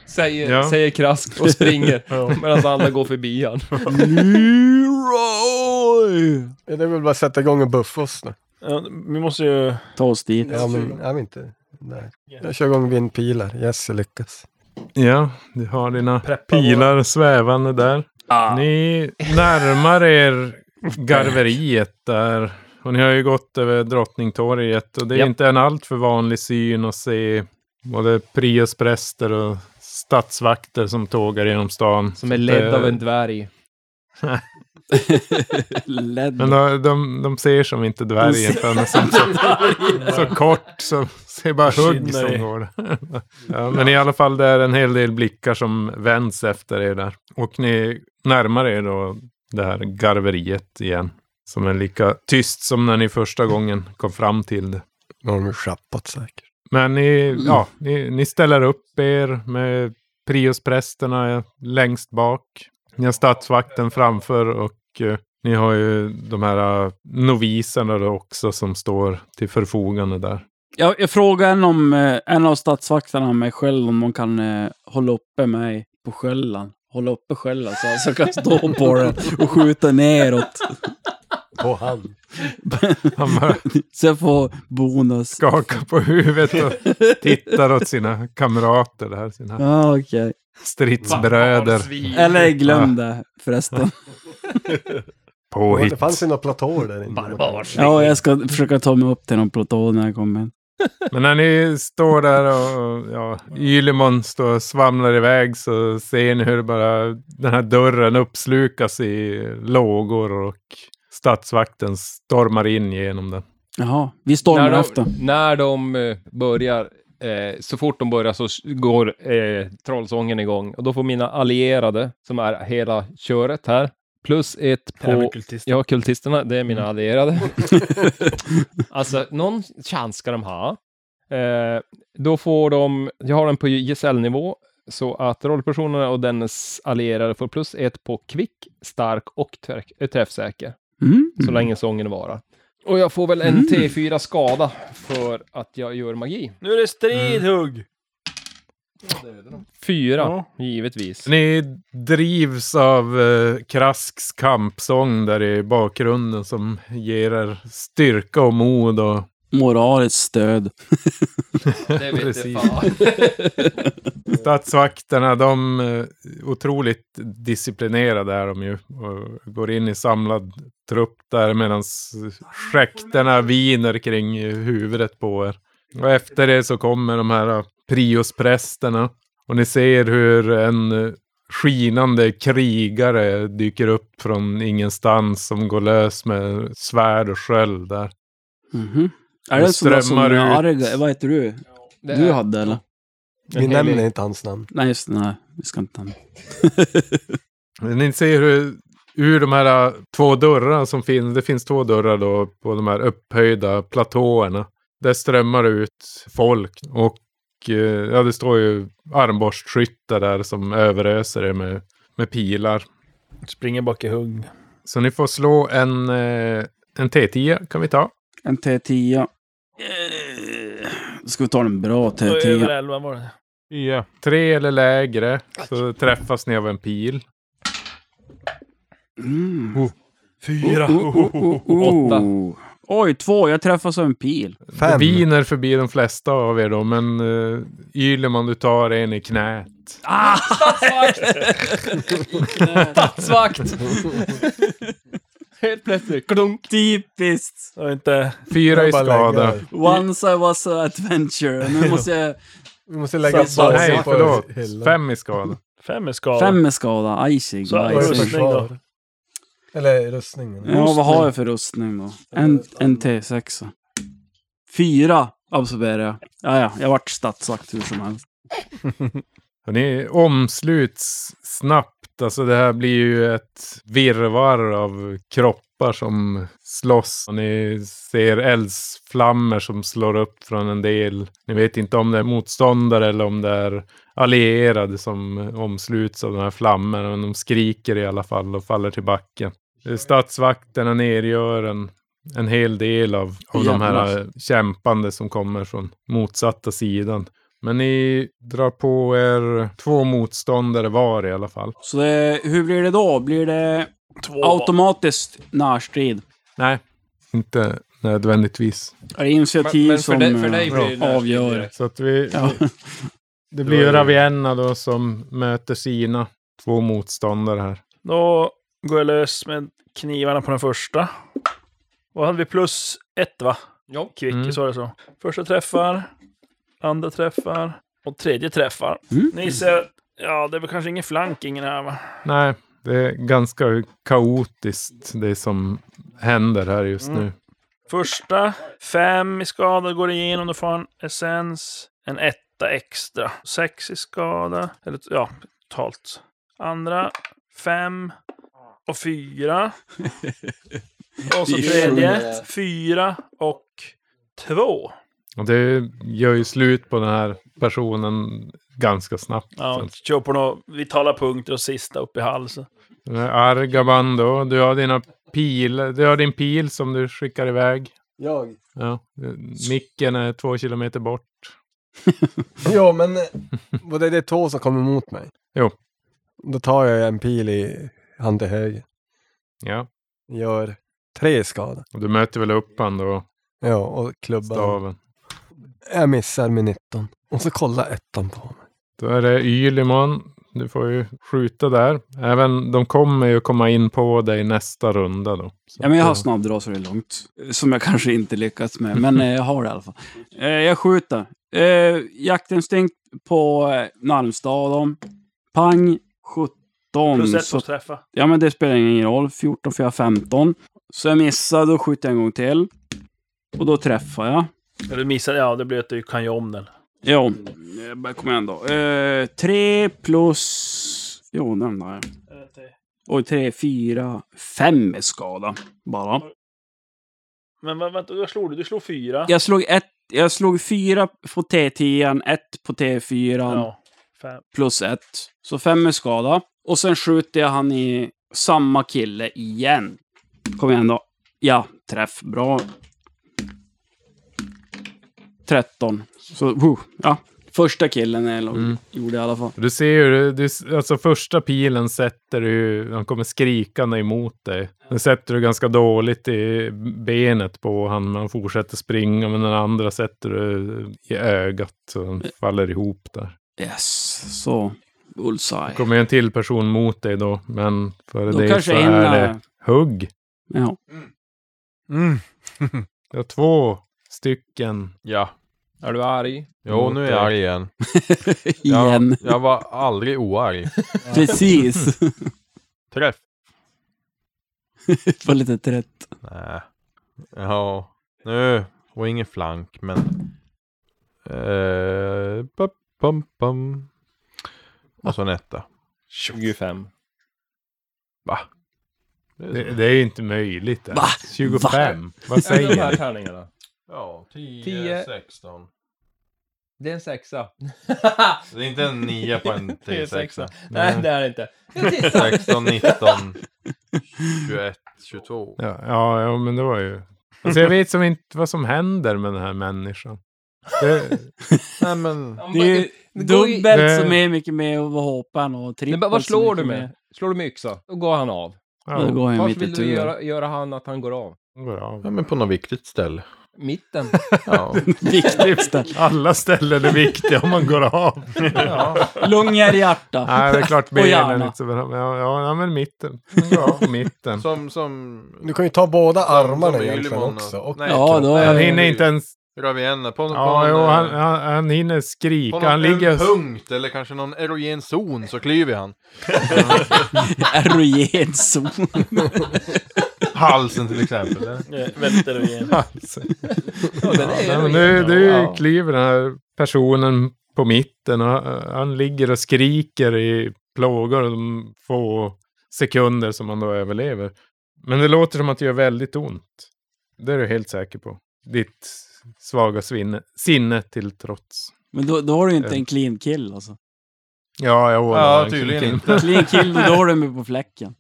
[SPEAKER 8] Säger,
[SPEAKER 4] Ja.
[SPEAKER 8] säger Krask och springer medan alla går förbi han.
[SPEAKER 2] Leroy!
[SPEAKER 5] Ja, Det är väl bara att sätta igång och buffa oss då.
[SPEAKER 3] Ja, vi måste ju...
[SPEAKER 2] Ta oss dit.
[SPEAKER 5] Ja, men jag vill inte... Nej. Jag kör igång vindpilar. Yes, jag lyckas.
[SPEAKER 4] Ja, du har dina
[SPEAKER 3] Preppa
[SPEAKER 4] pilar svävande där. Ni närmar er garveriet där. Och ni har ju gått över Drottningtorget. Och det är
[SPEAKER 8] Japp.
[SPEAKER 4] inte en alltför vanlig syn att se både priospräster och statsvakter som tågar genom stan.
[SPEAKER 8] Som är ledd
[SPEAKER 4] Eh,
[SPEAKER 8] av en dvärg.
[SPEAKER 2] Led.
[SPEAKER 4] Men de, de, de ser som inte dvärgen för de är som så, så kort så ser bara hugg
[SPEAKER 3] Skinner i.
[SPEAKER 4] som går. ja, men i alla fall det är en hel del blickar som vänds efter er där. Och ni närmar er då det här garveriet igen. Som är lika tyst som när ni första gången kom fram till det.
[SPEAKER 5] Nu har de ju schappat säkert.
[SPEAKER 4] Men ni, ja, ni, ni ställer upp er med priosprästerna längst bak. Ni har statsvakten framför och eh, ni har ju de här eh, noviserna då också som står till förfogande där.
[SPEAKER 2] Jag, jag frågar en, om, eh, en av statsvakterna med sköld om de kan eh, hålla uppe mig på skölden. Hålla uppe skölden så att jag kan stå på den och skjuta neråt.
[SPEAKER 5] På hand.
[SPEAKER 4] Han bara
[SPEAKER 2] Så jag får bonus.
[SPEAKER 4] skakar på huvudet och tittar åt sina kamrater där, sina
[SPEAKER 2] Ja, okej.
[SPEAKER 4] stridsbröder.
[SPEAKER 2] Eller glöm det
[SPEAKER 8] Ah.
[SPEAKER 2] förresten.
[SPEAKER 5] Det
[SPEAKER 4] Påhitt.
[SPEAKER 5] fanns ju några platåer där inne.
[SPEAKER 9] Barbars.
[SPEAKER 2] Ja, jag ska försöka ta mig upp till någon platå när jag kommer in.
[SPEAKER 4] Men när ni står där och ja, Ylemon står och svamlar iväg så ser ni hur bara den här dörren uppslukas i lågor och statsvakten stormar in genom den.
[SPEAKER 2] Jaha, vi
[SPEAKER 8] När
[SPEAKER 2] stormar efter.
[SPEAKER 8] de, när de eh, börjar, eh, så fort de börjar så s- går eh, trollsången igång. Och då får mina allierade, som är hela köret här, plus ett
[SPEAKER 3] Här
[SPEAKER 8] på...
[SPEAKER 3] med Mm. kultister.
[SPEAKER 8] Ja, kultisterna, det är mina allierade. alltså, någon chans ska de ha. Eh, då får de, jag har den på gesällnivå, så att rollpersonerna och dennes allierade får plus ett på kvick, stark och träff- eh, träffsäker
[SPEAKER 2] Mm.
[SPEAKER 8] så länge sången varar. Och jag får väl en T4 skada för att jag gör magi.
[SPEAKER 3] Nu är det strid, Hugg!
[SPEAKER 8] Fyra, givetvis.
[SPEAKER 4] Ni drivs av eh, Krasks kampsång där i bakgrunden som ger er styrka och mod och
[SPEAKER 2] Moraliskt stöd.
[SPEAKER 8] Det vet
[SPEAKER 4] Precis.
[SPEAKER 8] fan.
[SPEAKER 4] Statsvakterna, de är otroligt disciplinerade är de ju. Och går in i samlad trupp där medan skäkterna viner kring huvudet på er. Och efter det så kommer de här eh, priosprästerna. Och ni ser hur en eh, skinande krigare dyker upp från ingenstans som går lös med svärd och sköld där.
[SPEAKER 2] Mhm. Är det
[SPEAKER 4] Det
[SPEAKER 2] en sån där som
[SPEAKER 4] strömmar ut.
[SPEAKER 2] Arga, vad heter du?
[SPEAKER 8] Det
[SPEAKER 2] Du
[SPEAKER 8] är-
[SPEAKER 2] hade eller?
[SPEAKER 5] Vi nämner inte hans namn.
[SPEAKER 2] Nej, just det. Nej, vi ska inte nämna.
[SPEAKER 4] Men Ni ser hur ur de här äh, två dörrarna som finns, det finns två dörrar då på de här upphöjda platåerna. Där strömmar det ut folk och eh, ja, det står ju armborstskyttar där som överöser er med, med pilar.
[SPEAKER 3] Springer bak i hugg.
[SPEAKER 4] Så ni får slå en, eh, en T10 kan vi ta.
[SPEAKER 2] En T10. Eh, Då ska vi ta den bra
[SPEAKER 3] Över
[SPEAKER 2] T10.
[SPEAKER 3] 11 var det.
[SPEAKER 6] Ja.
[SPEAKER 4] Tre eller lägre så träffas ni av en pil.
[SPEAKER 2] Mm.
[SPEAKER 3] Fyra.
[SPEAKER 2] Oh, oh, oh, oh. Oj, två. Jag träffas av en pil.
[SPEAKER 4] Det
[SPEAKER 5] Fem.
[SPEAKER 4] viner förbi de flesta av er då, men uh, Yleman du tar en i knät.
[SPEAKER 8] Statsvakt! Helt plötsligt, klunk.
[SPEAKER 2] Typiskt.
[SPEAKER 3] Det var inte...
[SPEAKER 4] Fyra i
[SPEAKER 5] Jag bara
[SPEAKER 4] skada.
[SPEAKER 5] lägger-
[SPEAKER 2] Once I was an adventure. Nu måste jag...
[SPEAKER 5] Vi måste lägga
[SPEAKER 3] Så-
[SPEAKER 5] basen
[SPEAKER 4] Nej,
[SPEAKER 5] på
[SPEAKER 4] förlåt.
[SPEAKER 5] hyllan.
[SPEAKER 4] Fem i skada.
[SPEAKER 3] Fem är skada.
[SPEAKER 2] Fem är skada. Ajsig,
[SPEAKER 3] Så,
[SPEAKER 5] Vad är det
[SPEAKER 2] ajsig.
[SPEAKER 5] för
[SPEAKER 3] Rustning då?
[SPEAKER 5] försvar? Eller rustningen.
[SPEAKER 2] Ja, vad har jag för rustning då? En, en T6. Fyra absorberar jag. Ja, ja, jag vart statsakt hur som helst.
[SPEAKER 4] Och Ni omsluts snabbt. Alltså det här blir ju ett virrvarr av kroppar som slåss. Och ni ser eldsflammor som slår upp från en del. Ni vet inte om det är motståndare eller om det är allierade som omsluts av de här flammorna. Men de skriker i alla fall och faller till backen. Statsvakterna nergör en, en hel del av, av de här
[SPEAKER 2] Jävlar.
[SPEAKER 4] kämpande som kommer från motsatta sidan. Men ni drar på er två motståndare var i alla fall.
[SPEAKER 2] Så det, hur blir det då? Blir det automatiskt närstrid?
[SPEAKER 4] Nej. Inte nödvändigtvis.
[SPEAKER 2] Är det initiativ
[SPEAKER 8] Men
[SPEAKER 2] som
[SPEAKER 8] för, dig, för dig
[SPEAKER 2] eh,
[SPEAKER 8] blir det närstrid
[SPEAKER 2] avgör?
[SPEAKER 8] direkt.
[SPEAKER 4] Så att vi...
[SPEAKER 2] Ja.
[SPEAKER 4] Det blir ju Ravienna då som möter sina två motståndare här.
[SPEAKER 3] Då går jag lös med knivarna på den första. Och hade vi plus ett va?
[SPEAKER 8] Ja.
[SPEAKER 3] Kvick,
[SPEAKER 4] Mm.
[SPEAKER 3] så var det så. Första träffar, andra träffar och tredje träffar.
[SPEAKER 2] Mm.
[SPEAKER 3] Ni ser, ja det är väl kanske ingen flanking i det här va?
[SPEAKER 4] Nej, det är ganska kaotiskt det som händer här just
[SPEAKER 3] Mm.
[SPEAKER 4] nu.
[SPEAKER 3] Första, fem i skada går igenom, då får han essens. En etta extra. Sex i skada, eller ja, totalt. Andra, fem och fyra. Och så
[SPEAKER 2] Det är
[SPEAKER 3] tredje, fyra och två.
[SPEAKER 4] Och det gör ju slut på den här personen ganska snabbt.
[SPEAKER 3] Ja, kör på några vitala punkter och sista upp i halsen.
[SPEAKER 4] Den här Argaban då, du har dina pil, du har din pil som du skickar iväg.
[SPEAKER 5] Jag?
[SPEAKER 4] Ja, eh, micken är två kilometer bort.
[SPEAKER 5] Jo, men eh, var det, det två som kommer mot mig?
[SPEAKER 4] Jo.
[SPEAKER 5] Då tar jag en pil i hand till höger.
[SPEAKER 4] Ja,
[SPEAKER 5] Gör tre skada.
[SPEAKER 4] och du möter väl upp han då,
[SPEAKER 5] Ja, och klubban.
[SPEAKER 4] staven.
[SPEAKER 5] Jag missar med 19. Och så kolla ettan på mig.
[SPEAKER 4] Då är det Ylimon. Du får ju skjuta där. Även de kommer ju komma in på dig nästa runda då. Så
[SPEAKER 2] Ja, men jag har
[SPEAKER 4] att, eh,
[SPEAKER 2] snabbdra så det är långt. Som jag kanske inte lyckats med, men eh, jag har det i alla fall. Eh, Jag skjuter. Eh, Jaktinstinkt på eh, Malmstad. dem. Pang, 17.
[SPEAKER 3] Plus ett
[SPEAKER 2] Så
[SPEAKER 3] på träffa.
[SPEAKER 2] Ja, men det spelar ingen roll. 14, 4, 15. Så jag missar, då skjuter jag en gång till. Och då träffar jag.
[SPEAKER 3] Eller missar, ja det blir att du kan ju om den.
[SPEAKER 2] Jo, eh, kom igen då. Eh, 3 plus... Jo, den där. Oj, 3, 4, 5 är skada. Bara.
[SPEAKER 3] Men vä- vänta, vad slog du? Du slog fyra.
[SPEAKER 2] Jag slog, ett, jag slog 4 på T10, 1 på T4,
[SPEAKER 3] Ja, fem.
[SPEAKER 2] plus 1. Så 5 är skada. Och sen skjuter jag han i samma kille igen. Kom igen då. Ja, träff. Bra. 13. Så, woo, ja. Första killen jag låg-
[SPEAKER 4] Mm.
[SPEAKER 2] gjorde i alla fall.
[SPEAKER 4] Du ser ju, du, alltså första pilen sätter du, han kommer skrikande emot dig. Den sätter du ganska dåligt i benet på han, men han fortsätter springa. Men den andra sätter du i ögat, så han
[SPEAKER 6] Eh.
[SPEAKER 4] faller ihop där.
[SPEAKER 2] Yes, så. Bullseye.
[SPEAKER 4] kommer ju en till person mot dig då, men före
[SPEAKER 2] Då
[SPEAKER 4] det
[SPEAKER 2] kanske
[SPEAKER 4] så
[SPEAKER 2] jag
[SPEAKER 4] är
[SPEAKER 6] eh,
[SPEAKER 2] hinner...
[SPEAKER 4] det hugg.
[SPEAKER 2] Ja.
[SPEAKER 6] Mm.
[SPEAKER 4] Det är två stycken
[SPEAKER 6] Ja.
[SPEAKER 8] Är du arg?
[SPEAKER 6] Jo, nu är jag arg igen.
[SPEAKER 2] Igen.
[SPEAKER 6] Jag, jag var aldrig oarg.
[SPEAKER 2] Precis.
[SPEAKER 6] Träff.
[SPEAKER 2] Var lite trött.
[SPEAKER 6] Nej. Ja, nu var ingen flank, men... Eh, pam, pam, pam. Och så en etta.
[SPEAKER 8] 25.
[SPEAKER 6] Va?
[SPEAKER 4] Det, det är ju inte möjligt. ens.
[SPEAKER 2] Va?
[SPEAKER 4] 25. Vad säger
[SPEAKER 8] de här
[SPEAKER 4] du?
[SPEAKER 8] tärningarna.
[SPEAKER 6] Ja, 10,
[SPEAKER 8] Tio.
[SPEAKER 6] 16.
[SPEAKER 8] Det är en sexa.
[SPEAKER 6] Så det är inte en 9 på en 10, 16.
[SPEAKER 8] Nej, det är det inte. Det är sista.
[SPEAKER 6] 16, 19, 21, 22.
[SPEAKER 4] Ja, ja, ja, men det var ju... Alltså jag vet som inte vad som händer med den här människan. Det,
[SPEAKER 6] Nej, men...
[SPEAKER 8] Ja, men
[SPEAKER 2] Det är ju
[SPEAKER 8] det går ju-
[SPEAKER 2] dubbelt
[SPEAKER 4] Det-
[SPEAKER 2] så är mycket med att vara hoppan och
[SPEAKER 8] Nej,
[SPEAKER 2] trippelt
[SPEAKER 8] men vad
[SPEAKER 2] så
[SPEAKER 8] slår
[SPEAKER 2] mycket
[SPEAKER 8] du med? Slår du med yxa? Då går han av.
[SPEAKER 2] Ja, då
[SPEAKER 4] ja,
[SPEAKER 2] går jag
[SPEAKER 8] Vart
[SPEAKER 2] mitt i
[SPEAKER 8] vill du
[SPEAKER 2] tur.
[SPEAKER 8] göra, göra han att han går av?
[SPEAKER 4] bra.
[SPEAKER 6] Ja, men på något viktigt ställe.
[SPEAKER 8] Mitten.
[SPEAKER 6] Ja.
[SPEAKER 2] Viktigste.
[SPEAKER 4] Alla ställen är viktiga om man går av.
[SPEAKER 2] Lungor, hjärta.
[SPEAKER 4] Nej, det är klart
[SPEAKER 2] gärna.
[SPEAKER 4] benen är inte så bra. Men Ja, ja, ja, men mitten. Ja, mitten.
[SPEAKER 6] Som, som...
[SPEAKER 5] Du kan ju ta båda armarna
[SPEAKER 6] som
[SPEAKER 5] egentligen
[SPEAKER 6] Ylimon
[SPEAKER 5] också. Och
[SPEAKER 6] Nej, Äh,
[SPEAKER 2] Ja, då är
[SPEAKER 4] Han
[SPEAKER 2] det...
[SPEAKER 4] hinner inte ens...
[SPEAKER 6] Ravienna. På,
[SPEAKER 4] Ja,
[SPEAKER 6] på,
[SPEAKER 4] jo,
[SPEAKER 6] en, eh,
[SPEAKER 4] han, han, han hinner
[SPEAKER 6] på
[SPEAKER 4] skrika.
[SPEAKER 6] någon
[SPEAKER 4] Han ligger...
[SPEAKER 6] punkt eller kanske någon erogen zon så klyver han.
[SPEAKER 2] Erogen zon.
[SPEAKER 6] Halsen till exempel. eller?
[SPEAKER 3] Väldigt erogen.
[SPEAKER 4] Ja, men nu nu kliver den här personen på mitten och han- han ligger och skriker i plågor de få sekunder som han då överlever. Men det låter som att det gör väldigt ont. Det är du helt säker på. Ditt svaga svinne, sinne till trots.
[SPEAKER 2] Men då, då har du ju inte en clean kill alltså.
[SPEAKER 4] Ja, jag ordnar
[SPEAKER 6] Ja,
[SPEAKER 4] en
[SPEAKER 6] tydligen
[SPEAKER 4] kul-
[SPEAKER 6] inte.
[SPEAKER 2] Clean kill, då har du mig på fläcken.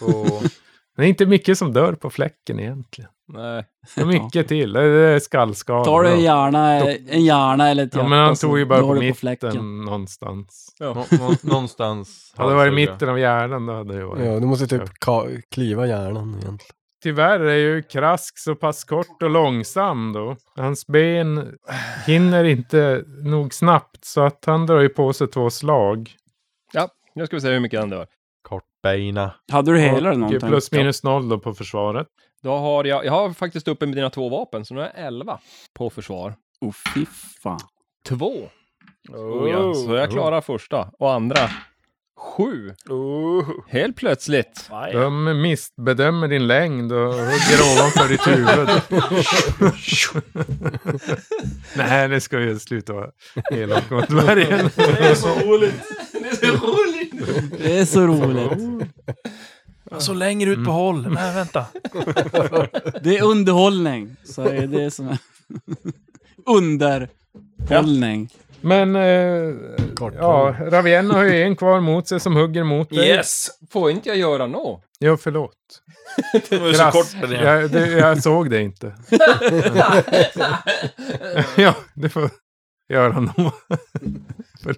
[SPEAKER 6] På...
[SPEAKER 4] Det är inte mycket som dör på fläcken egentligen.
[SPEAKER 8] Nej.
[SPEAKER 4] Det är mycket till. Det är skallskador.
[SPEAKER 2] Tar du en
[SPEAKER 4] ja,
[SPEAKER 2] hjärna, en hjärna eller ett hjärta
[SPEAKER 4] men han
[SPEAKER 2] så
[SPEAKER 4] tog ju bara
[SPEAKER 2] då alltså. har
[SPEAKER 4] på
[SPEAKER 2] du
[SPEAKER 4] mitten någonstans.
[SPEAKER 6] Nå- nå- någonstans.
[SPEAKER 4] Hade det varit
[SPEAKER 6] halshugga.
[SPEAKER 4] mitten av hjärnan då hade det varit.
[SPEAKER 5] Ja, du måste typ ka- kliva hjärnan egentligen.
[SPEAKER 4] Tyvärr är ju Krask så pass kort och långsam då. Hans ben hinner inte nog snabbt så att han drar ju på sig två slag.
[SPEAKER 8] Ja, nu ska vi se hur mycket han dör.
[SPEAKER 6] Kortbeina.
[SPEAKER 2] Hade du hela det någonting?
[SPEAKER 4] Och plus minus noll då på försvaret.
[SPEAKER 8] Då har jag, jag har faktiskt uppe mina två vapen, så nu är jag 11 på försvar.
[SPEAKER 2] Åh fy fan.
[SPEAKER 8] Två. Oh, ja. Så jag klarar första och andra. Sju. Helt plötsligt.
[SPEAKER 4] De missbedömer din längd och hugger ovanför ditt huvud. Nej, det ska ju sluta vara elak mot dvärgen.
[SPEAKER 2] Det är så roligt. Mm.
[SPEAKER 10] Så längre ut på håll. Nej, vänta.
[SPEAKER 2] Det är underhållning. Så det är det som är... Underhållning.
[SPEAKER 4] Men eh, ja, Ravienna har ju en kvar mot sig som hugger mot dig.
[SPEAKER 3] Yes!
[SPEAKER 8] Får inte jag göra nå?
[SPEAKER 4] Jo, förlåt.
[SPEAKER 3] Det var ju så
[SPEAKER 4] Krass.
[SPEAKER 3] kort med det.
[SPEAKER 4] jag, det, jag såg det inte. ja, du får göra något. För-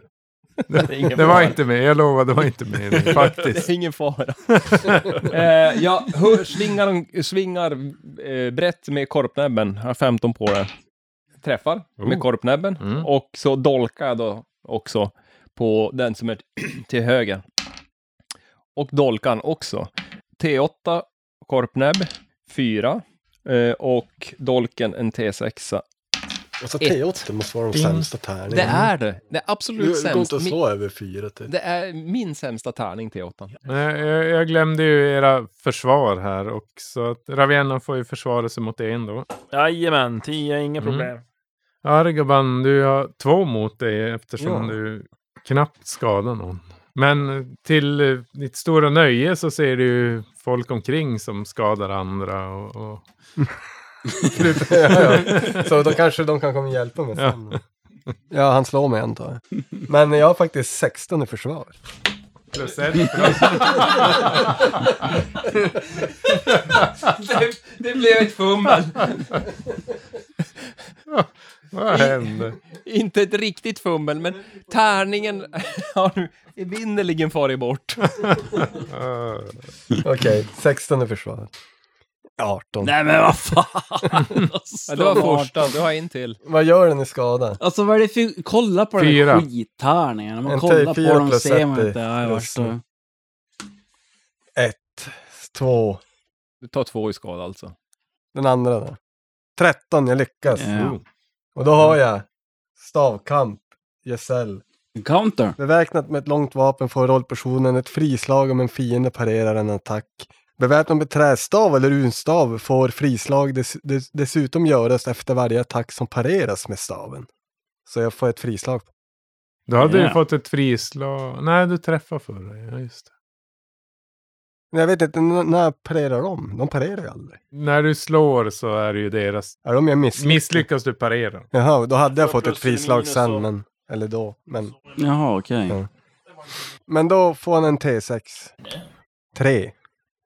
[SPEAKER 4] Det, det var inte med, jag lovar, det var inte med det,
[SPEAKER 8] Det
[SPEAKER 4] faktiskt.
[SPEAKER 8] är ingen fara. eh, jag hör, svingar, svingar eh, brett med korpnäbben. Jag har 15 på det. Träffar med
[SPEAKER 4] Oh.
[SPEAKER 8] korpnäbben.
[SPEAKER 4] Mm.
[SPEAKER 8] Och så dolkar jag då också på den som är till höger. Och dolkan också. T8, korpnäbb, 4. Eh, och dolken en T6.
[SPEAKER 5] Och så
[SPEAKER 8] Ett.
[SPEAKER 5] T8 Alltså, måste vara de
[SPEAKER 4] Ding.
[SPEAKER 5] sämsta
[SPEAKER 4] Mm.
[SPEAKER 5] tärningarna.
[SPEAKER 8] Det är det. Det är
[SPEAKER 5] Du,
[SPEAKER 8] absolut
[SPEAKER 5] du går
[SPEAKER 8] sämst.
[SPEAKER 5] inte att
[SPEAKER 8] Min,
[SPEAKER 5] slå över fyra typ. till.
[SPEAKER 8] det är min sämsta tärning, T8.
[SPEAKER 4] Nej, Jag, jag glömde ju era försvar här och så att Ravenna får ju försvara sig mot en då.
[SPEAKER 3] Jajamän, 10, inga
[SPEAKER 4] Mm.
[SPEAKER 3] problem.
[SPEAKER 4] Argaban, du har två mot dig eftersom
[SPEAKER 5] Ja.
[SPEAKER 4] du knappt skadar någon. Men till eh, ditt stora nöje så ser du ju folk omkring som skadar andra och, och
[SPEAKER 5] Ja, ja. Så då kanske de kan komma och hjälpa mig
[SPEAKER 4] Ja.
[SPEAKER 5] sen. Ja, han slår mig antar jag. Men jag har faktiskt 16 i försvar.
[SPEAKER 4] plus ett.
[SPEAKER 8] Det, det blev ett fummel.
[SPEAKER 4] Vad hände?
[SPEAKER 8] Inte ett riktigt fummel, men tärningen har nu evinnerligen farit bort.
[SPEAKER 4] Eh,
[SPEAKER 5] Okej, 16 i försvar. 18.
[SPEAKER 2] Nej men vad fan.
[SPEAKER 8] Ja, det var första, du har en till.
[SPEAKER 5] Vad gör den i skada?
[SPEAKER 2] Alltså vad är det för... Kolla på den
[SPEAKER 4] Fyra.
[SPEAKER 2] här skittärningen. När man
[SPEAKER 5] En
[SPEAKER 2] kollar
[SPEAKER 5] T4
[SPEAKER 2] på dem
[SPEAKER 5] plus
[SPEAKER 2] ser man
[SPEAKER 5] ett
[SPEAKER 2] inte. Ja, jag
[SPEAKER 5] plus
[SPEAKER 2] värsta.
[SPEAKER 5] noll. 1, 2.
[SPEAKER 8] Du tar två i skada alltså.
[SPEAKER 5] Den andra då? 13, jag lyckas.
[SPEAKER 2] Ja.
[SPEAKER 5] Och då har jag Stavkamp. Gesell.
[SPEAKER 2] Counter.
[SPEAKER 5] Beväpnat med ett långt vapen får rollpersonen ett frislag om en fiende parerar en attack. Beväpnad med trästav eller runstav får frislag dess, dess, dessutom göras efter varje attack som pareras med staven. Så jag får ett frislag.
[SPEAKER 4] Då hade
[SPEAKER 2] Ja.
[SPEAKER 4] du fått ett frislag. Nej, du träffade förra. Ja, just det.
[SPEAKER 5] Men jag vet inte, n- när parerar de? De parerar ju aldrig.
[SPEAKER 4] När du slår så är det ju deras.
[SPEAKER 5] Är de jag misslyckas?
[SPEAKER 4] Misslyckas du parera.
[SPEAKER 5] Jaha, då hade jag
[SPEAKER 6] Två
[SPEAKER 5] fått ett
[SPEAKER 6] plus eller
[SPEAKER 5] frislag
[SPEAKER 6] minus
[SPEAKER 5] sen,
[SPEAKER 6] och-
[SPEAKER 5] men... Eller då, men...
[SPEAKER 2] Jaha, okej.
[SPEAKER 5] Ja. Men då får han en T6. Tre.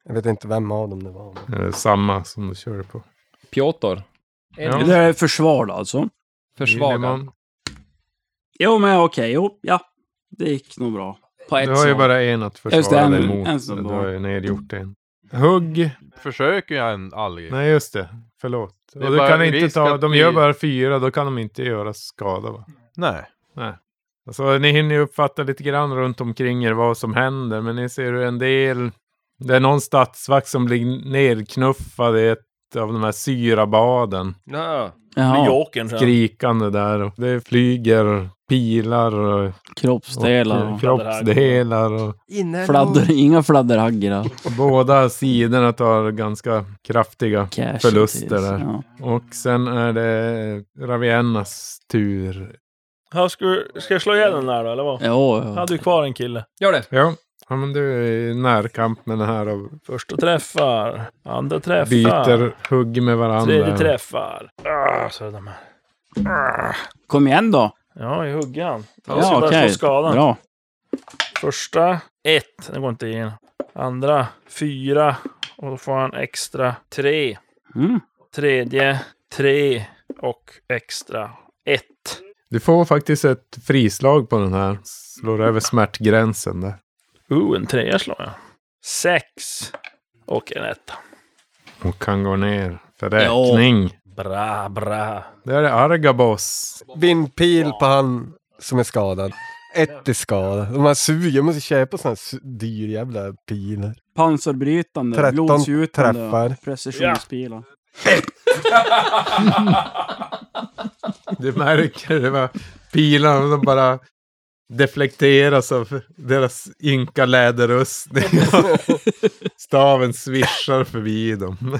[SPEAKER 5] Jag vet inte vem av dem det var. men-
[SPEAKER 4] Eh, Samma som du körde på.
[SPEAKER 8] Piotr.
[SPEAKER 4] Ja.
[SPEAKER 2] Det där är försvar då, alltså?
[SPEAKER 8] Försvaga.
[SPEAKER 4] Gillemon.
[SPEAKER 2] Jo, men okej. Jo, ja. Det gick nog bra. På ett
[SPEAKER 4] Du har ju
[SPEAKER 2] slag.
[SPEAKER 4] bara en att
[SPEAKER 2] det,
[SPEAKER 4] försvara
[SPEAKER 2] en-
[SPEAKER 4] dig mot.
[SPEAKER 2] en
[SPEAKER 4] så
[SPEAKER 2] som
[SPEAKER 4] Du
[SPEAKER 2] var.
[SPEAKER 4] har ju nedgjort en. Hugg.
[SPEAKER 6] Försöker jag en aldrig.
[SPEAKER 4] Nej, just det. Förlåt.
[SPEAKER 6] är
[SPEAKER 4] Och du
[SPEAKER 6] bara
[SPEAKER 4] kan inte
[SPEAKER 6] risk
[SPEAKER 4] ta,
[SPEAKER 6] att
[SPEAKER 4] de
[SPEAKER 6] vi-
[SPEAKER 4] gör bara fyra, då kan de inte göra skada va?
[SPEAKER 6] Nej.
[SPEAKER 4] Alltså, ni hinner ju uppfatta lite grann runt omkring er vad som händer, men ni ser ju en del... Det är någon stadsvakt som blir nedknuffad i ett av de här syrabaden.
[SPEAKER 8] Ja.
[SPEAKER 3] Med
[SPEAKER 2] Jaha,
[SPEAKER 3] jokern sen.
[SPEAKER 4] Skrikande där. Och det flyger pilar och,
[SPEAKER 2] kroppsdelar
[SPEAKER 4] och
[SPEAKER 2] och
[SPEAKER 4] kroppsdelar. Och
[SPEAKER 2] fladder. Inga fladderhaggor. där.
[SPEAKER 4] båda sidorna tar ganska kraftiga
[SPEAKER 2] Cash
[SPEAKER 4] Förluster
[SPEAKER 2] notice,
[SPEAKER 4] där.
[SPEAKER 2] Ja.
[SPEAKER 4] Och sen är det Raviennas tur.
[SPEAKER 3] Ja, ska, du- ska jag slå ihjäl den där då, eller vad?
[SPEAKER 2] Jo,
[SPEAKER 3] Jag
[SPEAKER 2] jo.
[SPEAKER 3] hade ju kvar en kille.
[SPEAKER 8] Gör det.
[SPEAKER 4] Ja, ja men du är i närkamp med den här och
[SPEAKER 3] Första träffar, andra träffar,
[SPEAKER 4] byter hugg med varandra.
[SPEAKER 3] tredje träffar. Ah, så är det de här.
[SPEAKER 2] Kom igen då.
[SPEAKER 3] Ja, jag hugger han.
[SPEAKER 2] Ja,
[SPEAKER 3] Jag ska bara
[SPEAKER 2] okej.
[SPEAKER 3] slå skadan.
[SPEAKER 2] Bra.
[SPEAKER 3] Första, ett. Det går inte in. Andra, fyra. Och då får han extra tre.
[SPEAKER 2] Mm.
[SPEAKER 3] Tredje, tre. Och extra ett.
[SPEAKER 4] Du får faktiskt ett frislag på den här. Slår över smärtgränsen där.
[SPEAKER 3] Oh, en trea slår jag. Sex. Och en etta.
[SPEAKER 4] Och kan gå ner för räkning.
[SPEAKER 3] Bra, bra.
[SPEAKER 4] Där är Argabos.
[SPEAKER 5] Vindpil på han som är skadad. Ett är skadad. De här suger. Jag måste köpa sådana här su- dyr jävla pilar.
[SPEAKER 2] Pansarbrytande,
[SPEAKER 5] 13
[SPEAKER 2] blodsgjutande,
[SPEAKER 5] träffar.
[SPEAKER 2] precisionspilar.
[SPEAKER 4] Du märker det var pilarna de bara deflekteras av deras ynka läderrustning. Staven svischar förbi dem.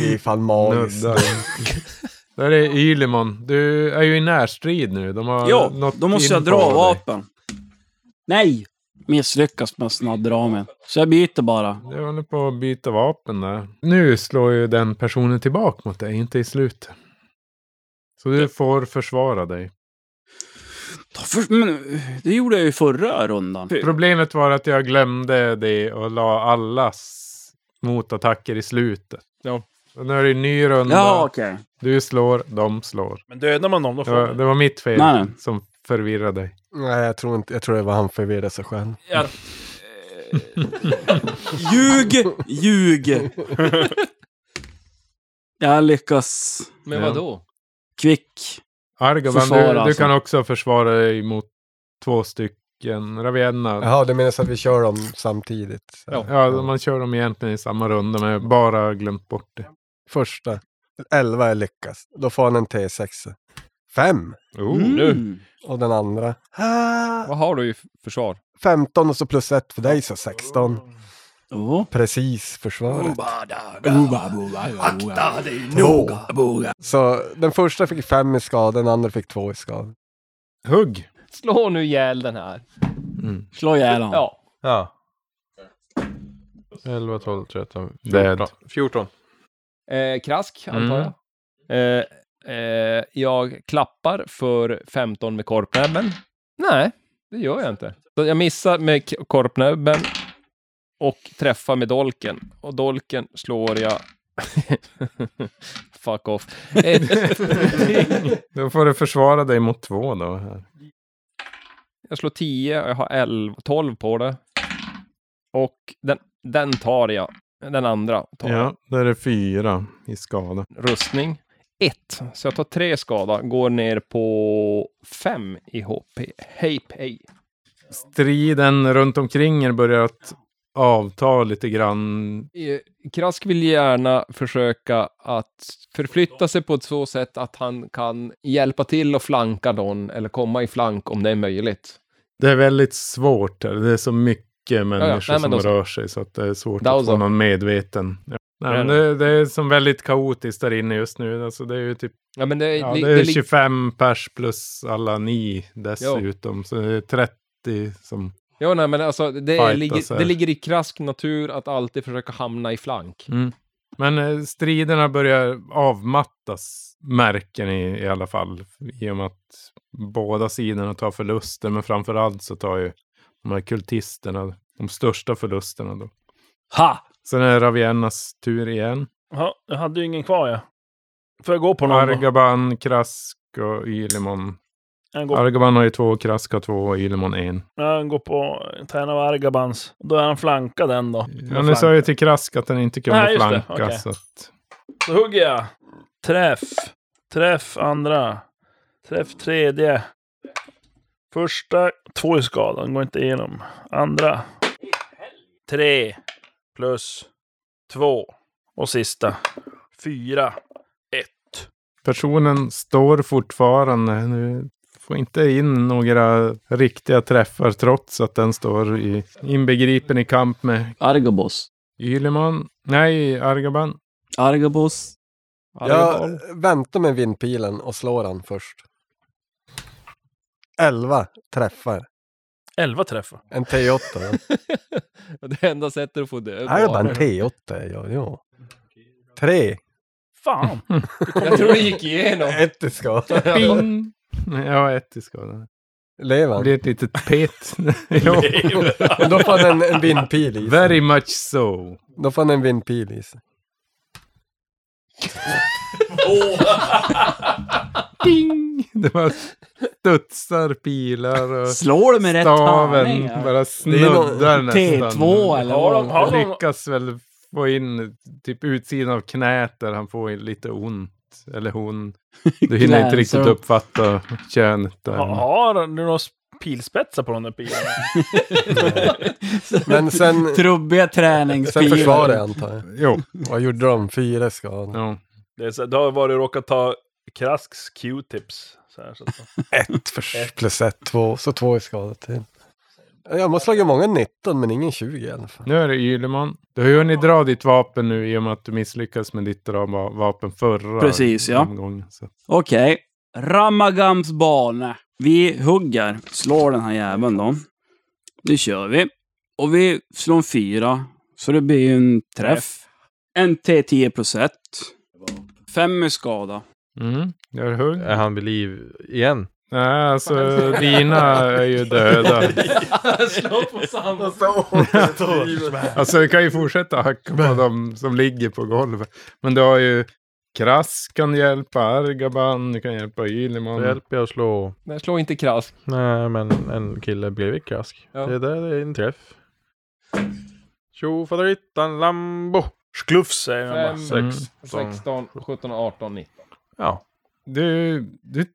[SPEAKER 5] Det är fan magiskt.
[SPEAKER 4] Nuddar. Där är Ylimon. Du är ju i närstrid nu. De har
[SPEAKER 2] Jo,
[SPEAKER 4] nått
[SPEAKER 2] då måste jag
[SPEAKER 4] in på
[SPEAKER 2] dra
[SPEAKER 4] dig.
[SPEAKER 2] vapen. Nej! Misslyckas med att snabbdra mig. Så jag byter bara.
[SPEAKER 4] Du håller på att byta vapen där. Nu slår ju den personen tillbaka mot dig, inte i slutet. Så du får försvara dig.
[SPEAKER 2] Ta För, men, det gjorde jag ju förra rundan.
[SPEAKER 4] Mm. Problemet var att jag glömde det och la allas motattacker i slutet.
[SPEAKER 8] Ja.
[SPEAKER 4] Och nu är det en ny runda.
[SPEAKER 2] Ja, okej.
[SPEAKER 4] Du slår, de slår.
[SPEAKER 3] Men dödar man dem då
[SPEAKER 4] Det
[SPEAKER 3] får
[SPEAKER 4] var,
[SPEAKER 3] man.
[SPEAKER 4] det var mitt fel
[SPEAKER 2] Nej.
[SPEAKER 4] som förvirrade dig.
[SPEAKER 5] Nej, jag tror inte. Jag tror det var han förvirrade sig själv.
[SPEAKER 2] Ljug! Ljug! jag lyckas
[SPEAKER 8] Men
[SPEAKER 4] Ja.
[SPEAKER 8] vadå?
[SPEAKER 2] kvick.
[SPEAKER 4] Argoban,
[SPEAKER 2] Försvara
[SPEAKER 4] du, du
[SPEAKER 2] alltså.
[SPEAKER 4] kan också försvara dig mot två stycken Ravienna.
[SPEAKER 5] Jaha, det menas att vi kör dem samtidigt.
[SPEAKER 8] Ja.
[SPEAKER 4] Ja, man kör dem egentligen i samma runda, men jag bara glömt bort det.
[SPEAKER 5] Första. Elva är lyckas. Då får han en T6. Fem.
[SPEAKER 8] Oh,
[SPEAKER 2] Mm.
[SPEAKER 5] Och den andra. Ah,
[SPEAKER 8] Vad har du i f- försvar?
[SPEAKER 5] 15 och så plus ett för dig så 16.
[SPEAKER 2] Oh.
[SPEAKER 5] Precis
[SPEAKER 2] Mm.
[SPEAKER 5] försvaret.
[SPEAKER 9] Akta dig noga, boga.
[SPEAKER 5] Så den första fick fem i skada, den andra fick två i skada.
[SPEAKER 4] Hugg!
[SPEAKER 8] Slå nu ihjäl den här.
[SPEAKER 2] Slå ihjäl honom.
[SPEAKER 8] Ja.
[SPEAKER 6] Ja. 11, 12, 13,
[SPEAKER 4] Dead.
[SPEAKER 6] 14.
[SPEAKER 8] Eh, krask, antar
[SPEAKER 4] Mm.
[SPEAKER 8] jag. Eh, eh, jag klappar för 15 med korpnäbben. Nej, det gör jag inte. Så jag missar med k- korpnäbben och träffar med dolken. Och dolken slår jag... Fuck off. Eh,
[SPEAKER 4] Då får du försvara dig mot två då. Här.
[SPEAKER 8] jag slår 10 och jag har 11, 12 på det. Och den, den tar jag. Den andra tar jag.
[SPEAKER 4] Ja, där är fyra i skada.
[SPEAKER 8] rustning. 1. Så jag tar 3 skada, går ner på 5 i HP. Hej, hej.
[SPEAKER 4] Striden runt omkring er börjar att avta lite grann.
[SPEAKER 8] Eh, Krask vill gärna försöka att förflytta sig på ett så sätt att han kan hjälpa till och flanka någon eller komma i flank om det är möjligt.
[SPEAKER 4] Det är väldigt svårt. här. Det är så mycket
[SPEAKER 8] Nej,
[SPEAKER 4] människor
[SPEAKER 8] men
[SPEAKER 4] som
[SPEAKER 8] då så.
[SPEAKER 4] rör sig så att det är svårt
[SPEAKER 8] Då
[SPEAKER 4] att få
[SPEAKER 8] så.
[SPEAKER 4] någon medveten. Ja. Nej, men det, det är som väldigt kaotiskt där inne just nu. Alltså det är ju typ
[SPEAKER 8] Ja, men det, är
[SPEAKER 4] ja,
[SPEAKER 8] li-
[SPEAKER 4] det
[SPEAKER 8] det
[SPEAKER 4] är
[SPEAKER 8] är li-
[SPEAKER 4] 25 pers plus alla ni dessutom. Så det är 30 som...
[SPEAKER 8] Ja, nej, men alltså, det, är,
[SPEAKER 4] Fightas
[SPEAKER 8] ligger,
[SPEAKER 4] här.
[SPEAKER 8] det ligger i krask natur att alltid försöka hamna i flank.
[SPEAKER 4] Men eh, striderna börjar avmattas, märker ni i alla fall. I och med att båda sidorna tar förluster, men framför allt så tar ju de här kultisterna de största förlusterna då.
[SPEAKER 3] Ha!
[SPEAKER 4] Sen är Raviennas tur igen.
[SPEAKER 3] Ja, jag hade ju ingen kvar jag. Får jag gå på någon då?
[SPEAKER 4] Argaban, Krask och Ylimon.
[SPEAKER 3] Jag går,
[SPEAKER 4] Argaban har ju två, Krask har två och Ylimon en.
[SPEAKER 3] jag går på Tärn av Argabans. Då är han flankad än då.
[SPEAKER 4] Ja, nu sa jag till Krask att den inte kunde
[SPEAKER 3] Nej, just det.
[SPEAKER 4] flanka.
[SPEAKER 3] Okej.
[SPEAKER 4] Så att,
[SPEAKER 3] Då hugger jag. Träff. Träff andra. Träff tredje. Första, två i skada, den går inte igenom. Andra. Tre. Plus två. Och sista. Fyra. Ett.
[SPEAKER 4] personen står fortfarande. Nu får inte in några riktiga träffar trots att den står i, inbegripen i kamp med
[SPEAKER 2] Argobos.
[SPEAKER 4] Ylimon. Nej, Argaban.
[SPEAKER 2] Argobos.
[SPEAKER 4] Argaban.
[SPEAKER 5] Jag väntar med vindpilen och slår han först. Elva träffar.
[SPEAKER 3] Elva träffar.
[SPEAKER 5] En T8.
[SPEAKER 8] det enda sättet att få död
[SPEAKER 5] Är det bara en
[SPEAKER 8] var-
[SPEAKER 5] T8? Ja, ja. Tre.
[SPEAKER 3] Fan!
[SPEAKER 8] Jag tror det gick igenom.
[SPEAKER 5] Ett i skada.
[SPEAKER 4] Ping! Ja, ett i skada.
[SPEAKER 5] Lever
[SPEAKER 4] Det
[SPEAKER 5] han?
[SPEAKER 4] blir ett litet pet. Jo.
[SPEAKER 5] Men Då får han en, en vindpil i sig.
[SPEAKER 4] Very much so.
[SPEAKER 5] Då får han en vindpil i sig.
[SPEAKER 4] Ding! Det var studsar, pilar och
[SPEAKER 2] Slår du med rätt
[SPEAKER 4] staven
[SPEAKER 2] tärning?
[SPEAKER 4] bara
[SPEAKER 5] är någon
[SPEAKER 4] snuddar nästan.
[SPEAKER 2] T2 eller?
[SPEAKER 3] Har de-
[SPEAKER 2] vad?
[SPEAKER 3] har de-
[SPEAKER 4] Lyckas väl få in typ utsidan av knät där han får in lite ont. Eller hon. Du hinner inte
[SPEAKER 2] Glancer.
[SPEAKER 4] riktigt uppfatta könet där.
[SPEAKER 3] Ha- Har du några pilspetsar på de där pilarna?
[SPEAKER 5] Men sen,
[SPEAKER 2] Trubbiga
[SPEAKER 5] sen
[SPEAKER 2] träningspilar.
[SPEAKER 5] försvarade jag antar jag.
[SPEAKER 4] Jo.
[SPEAKER 5] Vad gjorde de? Fyra skador.
[SPEAKER 4] Ja.
[SPEAKER 3] Det är så, då har varit råkat ta Krasks Q-tips. Så här, så att,
[SPEAKER 5] Ett förs- plus ett, två. Så två i skada till. Jag måste slagit många 19 men ingen 20 i alla fall.
[SPEAKER 4] Nu är det Ylemon. Du har ju hunnit dra ditt vapen nu i och med att du misslyckades med ditt dra va- vapen förra
[SPEAKER 2] Precis, ja.
[SPEAKER 4] omgången. Så.
[SPEAKER 2] Okej. Ramagams bane. Vi hugger. Slår den här jäveln då. Nu kör vi. Och vi slår en fyra. Så det blir ju en träff. En T10 plus 1. Fem i skada.
[SPEAKER 4] Mm. Gör hugg.
[SPEAKER 6] Är han vid liv igen?
[SPEAKER 4] Nej, alltså dina är ju döda. Alltså vi kan ju fortsätta hacka på dem som ligger på golvet. Men du har ju Krask kan hjälpa, Argaban, du kan hjälpa
[SPEAKER 6] Då
[SPEAKER 4] Ylimon.
[SPEAKER 6] hjälper jag att slå.
[SPEAKER 8] Nej, slå inte krask.
[SPEAKER 6] Nej, men en kille bredvid Krask.
[SPEAKER 8] Ja.
[SPEAKER 6] Det där är en träff. Tjofaderittan Lambo.
[SPEAKER 3] Sklufs säger han bara.
[SPEAKER 8] Fem,
[SPEAKER 4] Mm.
[SPEAKER 8] 16, 17, 18, 19.
[SPEAKER 6] Ja.
[SPEAKER 4] Du, du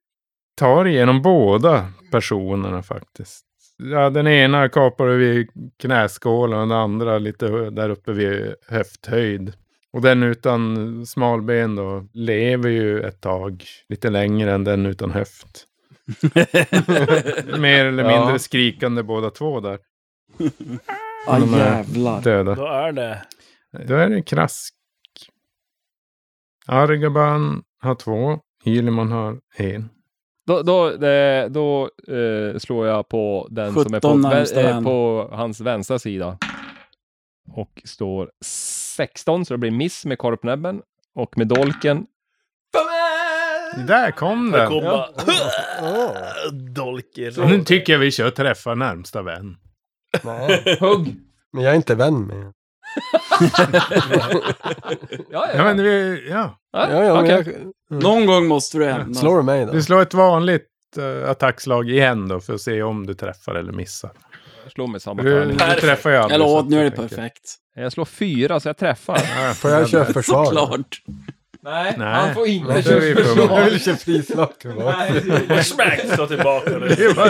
[SPEAKER 4] tar igenom båda personerna faktiskt. Ja, den ena kapar du vid knäskålen och den andra lite hö- där uppe vid höfthöjd. Och den utan smalben då lever ju ett tag lite längre än den utan höft. Mer eller
[SPEAKER 8] Ja.
[SPEAKER 4] mindre skrikande båda två där,
[SPEAKER 2] Ah,
[SPEAKER 4] De är-
[SPEAKER 2] jävlar.
[SPEAKER 4] döda.
[SPEAKER 3] Då är det...
[SPEAKER 4] Då är det Krask. Argaban har två. Hyleman har en.
[SPEAKER 8] Då, då, det, då eh, slår jag på den som är på,
[SPEAKER 2] 17 närmsta
[SPEAKER 8] vä- eh,
[SPEAKER 2] vän.
[SPEAKER 8] på hans vänstra sida. Och står 16, så det blir miss med korpnäbben och med dolken.
[SPEAKER 4] Där kom den!
[SPEAKER 3] Kom bara...
[SPEAKER 5] Åh,
[SPEAKER 3] Dolker.
[SPEAKER 4] Så nu tycker jag vi kör träffa närmsta vän.
[SPEAKER 5] nej.
[SPEAKER 8] Hugg!
[SPEAKER 5] Men jag är inte vän med honom.
[SPEAKER 8] Ja,
[SPEAKER 4] Ja, men vi, ja.
[SPEAKER 8] Ja,
[SPEAKER 5] Ja, ja, men
[SPEAKER 8] okej.
[SPEAKER 5] jag,
[SPEAKER 2] Någon gång måste du hända.
[SPEAKER 5] slår du mig då?
[SPEAKER 4] Du slår ett vanligt eh, attackslag igen då för att se om du träffar eller missar.
[SPEAKER 8] Slå med samma
[SPEAKER 4] Du, du
[SPEAKER 8] tärning.
[SPEAKER 4] träffar ju aldrig.
[SPEAKER 2] Jag
[SPEAKER 4] så
[SPEAKER 2] lovar,
[SPEAKER 4] att
[SPEAKER 2] nu är
[SPEAKER 4] jag
[SPEAKER 2] det
[SPEAKER 4] tänker-
[SPEAKER 2] perfekt.
[SPEAKER 8] Jag slår fyra, så jag träffar.
[SPEAKER 4] Ja,
[SPEAKER 5] Får jag köra försvar?
[SPEAKER 2] Såklart.
[SPEAKER 8] Nej,
[SPEAKER 4] Nej.
[SPEAKER 8] han får inte
[SPEAKER 4] Nej, det är vi på.
[SPEAKER 8] körsförslag.
[SPEAKER 5] Jag vill köra frislag tillbaka.
[SPEAKER 3] Smack! Slå tillbaka.
[SPEAKER 4] Det var-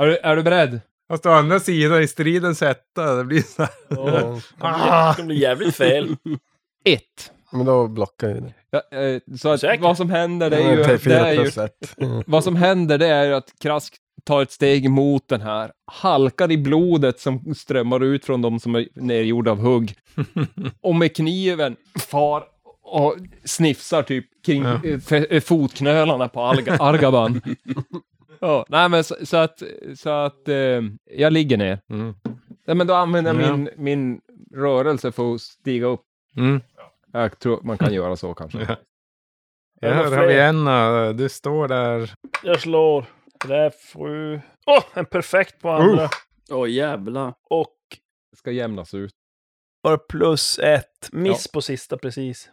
[SPEAKER 8] Är, du- är du beredd?
[SPEAKER 4] Fast å andra sidan i stridens hetta, det blir så här.
[SPEAKER 5] Ja.
[SPEAKER 4] Ah!
[SPEAKER 11] Det blir jävligt fel.
[SPEAKER 8] Ett.
[SPEAKER 5] Men då blockar ju det.
[SPEAKER 8] Ja, eh, så att
[SPEAKER 11] Säkert.
[SPEAKER 8] vad som händer det är
[SPEAKER 5] Ja,
[SPEAKER 8] ju...
[SPEAKER 5] det är
[SPEAKER 8] Det
[SPEAKER 5] fyra
[SPEAKER 8] är ju
[SPEAKER 5] plus ett.
[SPEAKER 8] vad som händer det är ju att Krask tar ett steg mot den här, halkar i blodet som strömmar ut från de som är nergjorda av hugg. och med kniven far och snifsar typ kring
[SPEAKER 4] Ja.
[SPEAKER 8] eh, fe- eh, fotknölarna på Alga, Argaban. ja, nej men så, så att, så att eh, jag ligger ner.
[SPEAKER 4] Mm.
[SPEAKER 8] Nej, men då använder jag
[SPEAKER 4] Ja.
[SPEAKER 8] min, min rörelse för att stiga upp.
[SPEAKER 4] Mm.
[SPEAKER 8] Jag tror man kan göra så kanske.
[SPEAKER 4] Här har vi en. eh, Du står där.
[SPEAKER 3] Jag slår. Det är sju. Åh, en perfekt på andra.
[SPEAKER 2] Åh jävlar.
[SPEAKER 3] Och
[SPEAKER 8] Det ska jämnas ut.
[SPEAKER 3] bara plus ett. Miss på sista precis.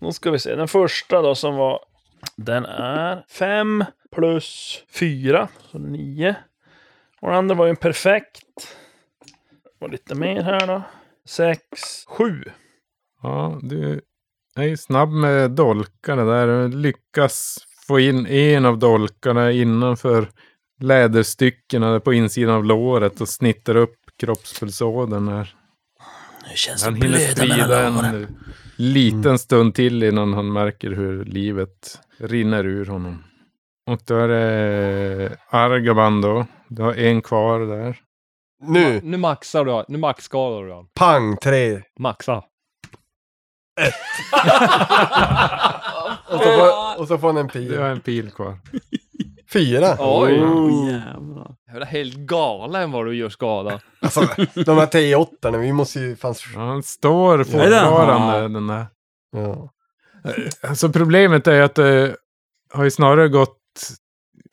[SPEAKER 3] Nu ska vi se. Den första då som var... Den är fem plus fyra. Så nio. Och den andra var ju en perfekt. Och lite mer här då. Sex, sju.
[SPEAKER 4] Ja, du är ju snabb med dolkarna där. Du lyckas få in en av dolkarna innanför läderstyckena där på insidan av låret och snittar upp kroppspulsådern här.
[SPEAKER 11] Nu känns
[SPEAKER 4] Han hinner sprida en liten stund till innan han märker hur livet rinner ur honom. Och då är det Argaban då. Du har en kvar där.
[SPEAKER 5] Nu,
[SPEAKER 8] Nu maxar du, nu maxskadar du han.
[SPEAKER 5] pang, tre.
[SPEAKER 8] Maxa.
[SPEAKER 5] Och så får, och så får han en
[SPEAKER 4] Du
[SPEAKER 5] pil.
[SPEAKER 4] har en pil kvar.
[SPEAKER 5] Fyra.
[SPEAKER 8] Oj!
[SPEAKER 4] Mm.
[SPEAKER 2] Åh jävlar.
[SPEAKER 8] Det är helt galen vad du gör skada.
[SPEAKER 5] Alltså, de här T8, vi måste ju... Fanns...
[SPEAKER 4] Ja, Han står
[SPEAKER 2] den?
[SPEAKER 4] fortfarande den där.
[SPEAKER 5] Ja.
[SPEAKER 4] Alltså problemet är att det har ju snarare gått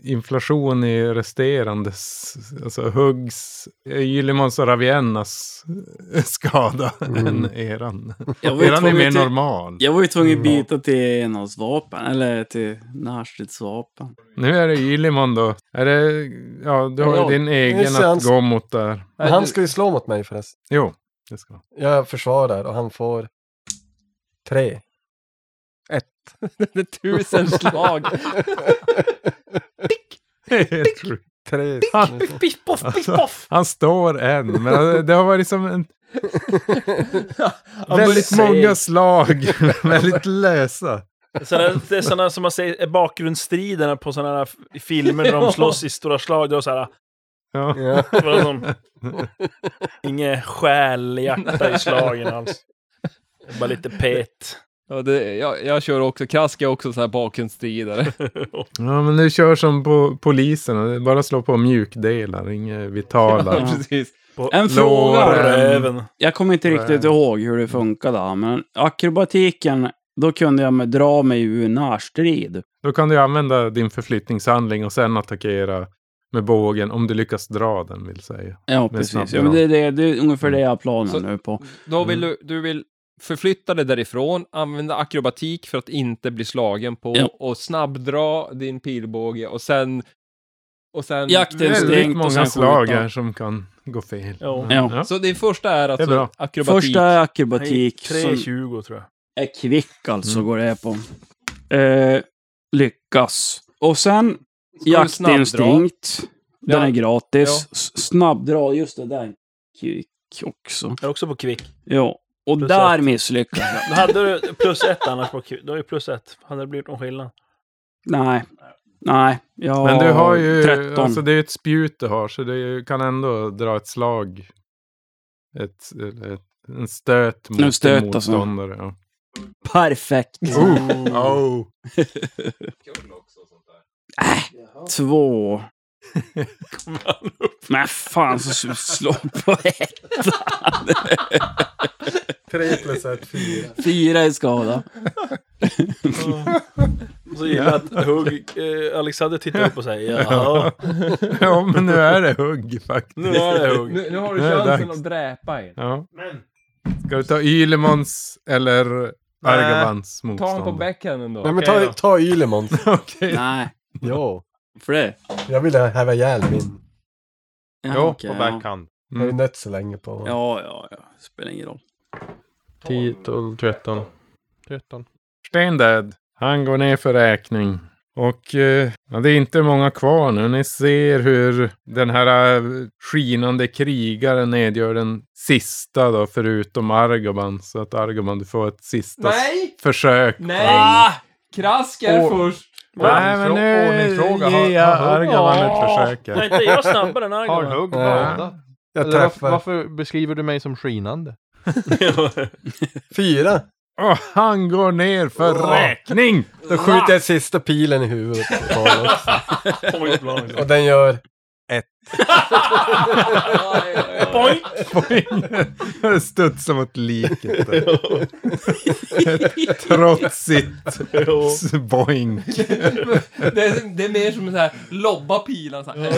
[SPEAKER 4] inflation i resterandes, alltså Huggs, Gyllemons och Raviennas skada än eran.
[SPEAKER 2] Jag var ju
[SPEAKER 4] Eran är mer Mm.
[SPEAKER 2] tvungen till-
[SPEAKER 4] normal.
[SPEAKER 2] jag var ju tvungen att byta till någons vapen, eller till Nashrids vapen.
[SPEAKER 4] Nu är det Gyllemon då. Är det, ja, du har
[SPEAKER 5] Ja,
[SPEAKER 4] ju din egen
[SPEAKER 5] just det,
[SPEAKER 4] att
[SPEAKER 5] han-
[SPEAKER 4] gå mot där.
[SPEAKER 5] Men han ska ju slå mot mig förresten.
[SPEAKER 4] Jo, det ska
[SPEAKER 5] Jag försvarar och han får tre.
[SPEAKER 8] Det är tusen slag.
[SPEAKER 4] Helt sjukt.
[SPEAKER 5] Tre.
[SPEAKER 8] Biff, boff, biff,
[SPEAKER 4] Alltså,
[SPEAKER 8] boff.
[SPEAKER 4] han står än, men det har varit som en
[SPEAKER 8] Han
[SPEAKER 4] väldigt
[SPEAKER 8] börjar-
[SPEAKER 4] många slag, väldigt lösa.
[SPEAKER 3] Sådana, det är sådana som man säger är bakgrundsstriderna på sådana här f- filmer när de slåss i stora slag. Det var såhär,
[SPEAKER 4] Ja.
[SPEAKER 5] Ja.
[SPEAKER 3] det var som, inget själjärta i slagen alls. Bara lite pet.
[SPEAKER 8] Ja, det, jag, jag kör också, Krask är också så här bakgrundsstridare.
[SPEAKER 4] Ja, men du kör som på polisen. Det är Bara slå på mjukdelar, inga vitala.
[SPEAKER 8] Precis.
[SPEAKER 2] En
[SPEAKER 4] Låren.
[SPEAKER 2] fråga.
[SPEAKER 3] Röven.
[SPEAKER 2] Jag kommer inte riktigt ihåg hur det funkade, här, men akrobatiken, då kunde jag med- dra mig ur närstrid.
[SPEAKER 4] Då kan du använda din förflyttningshandling och sen attackera med bågen om du lyckas dra den, vill säga.
[SPEAKER 2] Ja,
[SPEAKER 4] Med
[SPEAKER 2] precis.
[SPEAKER 4] snabb
[SPEAKER 2] Ja, men det, är det, det är ungefär
[SPEAKER 4] Mm.
[SPEAKER 2] det jag har planen
[SPEAKER 8] Så-
[SPEAKER 2] nu på.
[SPEAKER 8] Då vill du, du vill förflytta dig därifrån, använda akrobatik för att inte bli slagen på
[SPEAKER 2] Ja.
[SPEAKER 8] och snabbdra din pilbåge och sen... Och sen...
[SPEAKER 2] Jakten. Det är
[SPEAKER 4] Väldigt
[SPEAKER 2] stängt och
[SPEAKER 4] många
[SPEAKER 2] sen
[SPEAKER 4] slag
[SPEAKER 2] skjuta.
[SPEAKER 4] här som kan gå fel.
[SPEAKER 3] Ja.
[SPEAKER 2] Ja.
[SPEAKER 8] Så din första är alltså
[SPEAKER 4] Det är bra.
[SPEAKER 8] akrobatik.
[SPEAKER 2] Första är akrobatik som
[SPEAKER 3] 3.20 tror jag.
[SPEAKER 2] är kvick alltså, går det på. Eh, lyckas. Och sen
[SPEAKER 8] Ska du snabbdra?
[SPEAKER 2] jaktinstinkt. Den
[SPEAKER 8] Ja.
[SPEAKER 2] är gratis.
[SPEAKER 8] Ja.
[SPEAKER 2] S- Snabbdra, just det, där. Kvick också.
[SPEAKER 3] Jag är också på kvick.
[SPEAKER 2] Ja. Och
[SPEAKER 3] Plus
[SPEAKER 2] där misslyckas jag.
[SPEAKER 3] Då hade du plus ett annars på kvick. Då är det plus ett. Hade det blivit någon skillnad?
[SPEAKER 2] Nej. Nej. Jag
[SPEAKER 4] Men du har ju,
[SPEAKER 2] 13.
[SPEAKER 4] alltså det är ju ett spjut du har, så du kan ändå dra ett slag. Ett, eller ett, en stöt mot
[SPEAKER 2] En stöt,
[SPEAKER 4] din
[SPEAKER 2] alltså.
[SPEAKER 4] motståndare. Ja.
[SPEAKER 2] Perfekt.
[SPEAKER 4] Oh.
[SPEAKER 2] Två. Men fan så slå på ett.
[SPEAKER 5] Tre plus ett, fyra.
[SPEAKER 2] Fyra i skada.
[SPEAKER 3] Och så gillar jag att Hugg, eh, Alexander tittar upp och säger ja.
[SPEAKER 4] ja, men nu är det hugg faktiskt.
[SPEAKER 3] Nu är det Hugg.
[SPEAKER 8] Nu, nu har du
[SPEAKER 4] Nu är det
[SPEAKER 8] chansen
[SPEAKER 4] dags.
[SPEAKER 8] att dräpa en.
[SPEAKER 4] Ja. Ska du ta Ylemons eller Argabans
[SPEAKER 8] Ta honom på
[SPEAKER 4] motståndare?
[SPEAKER 8] backhanden då.
[SPEAKER 5] Nej men ta, ta Ylemon.
[SPEAKER 4] Okej.
[SPEAKER 2] Nej.
[SPEAKER 5] Jo.
[SPEAKER 2] För det?
[SPEAKER 5] Jag ville häva ihjäl min.
[SPEAKER 2] Ja,
[SPEAKER 6] Jo,
[SPEAKER 2] okej,
[SPEAKER 6] på backhand.
[SPEAKER 5] Jag har ju
[SPEAKER 4] Mm.
[SPEAKER 5] nött så länge på...
[SPEAKER 2] Ja. ja, ja, ja. Spelar ingen roll.
[SPEAKER 6] 10, 12, 13. 13.
[SPEAKER 4] Stendad. Han går ner för räkning. Och eh, ja, det är inte många kvar nu. Ni ser hur den här eh, skinande krigaren nedgör den sista då, förutom Argoban. Så att Argoban, du får ett sista
[SPEAKER 8] Nej!
[SPEAKER 4] försök.
[SPEAKER 8] Nej! Ah. Krask är först.
[SPEAKER 4] Nej, men nu ger jag Argoban ett försök. här.
[SPEAKER 3] Nej, inte jag snabbare än Argoban.
[SPEAKER 6] Har hugg
[SPEAKER 4] Ja.
[SPEAKER 6] båda.
[SPEAKER 5] Jag
[SPEAKER 6] Eller varför,
[SPEAKER 5] träffar.
[SPEAKER 6] varför beskriver du mig som skinande?
[SPEAKER 5] Fyra.
[SPEAKER 4] Och han går ner för
[SPEAKER 5] Åh.
[SPEAKER 4] räkning!
[SPEAKER 5] Då skjuter jag sista pilen i huvudet på honom.
[SPEAKER 3] Point blank.
[SPEAKER 5] Och den gör...
[SPEAKER 3] Point!
[SPEAKER 4] Poäng! Studsar mot liket. där. Ett trotsigt s- boink.
[SPEAKER 8] det, är, det är mer som så här, lobba pilen så här.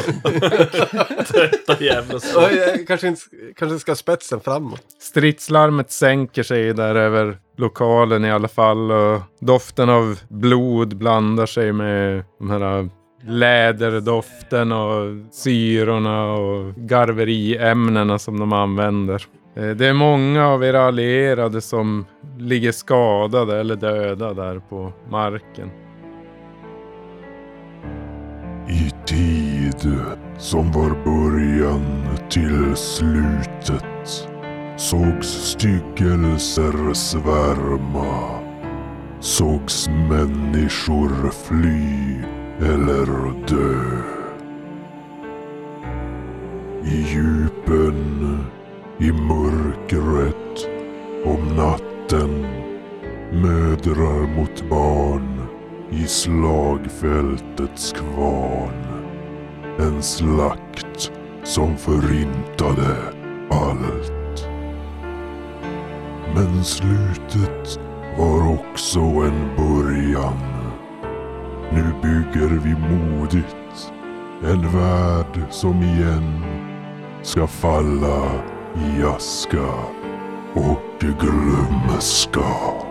[SPEAKER 3] Trötta jävla
[SPEAKER 5] Oj, jag kanske, inte, kanske ska ha spetsen framåt.
[SPEAKER 4] Stridslarmet sänker sig där över lokalen i alla fall. Och doften av blod blandar sig med de här läderdoften och syrorna och garveriämnena som de använder. Eh, Det är många av era allierade som ligger skadade eller döda där på marken.
[SPEAKER 1] I tid som var början till slutet sågs styggelser svärma, sågs människor fly eller dö. I djupen, i mörkret, om natten, mödrar mot barn i slagfältets kvarn. En slakt som förintade allt. Men slutet var också en början. Nu bygger vi modigt en värld som igen ska falla i aska och glömska.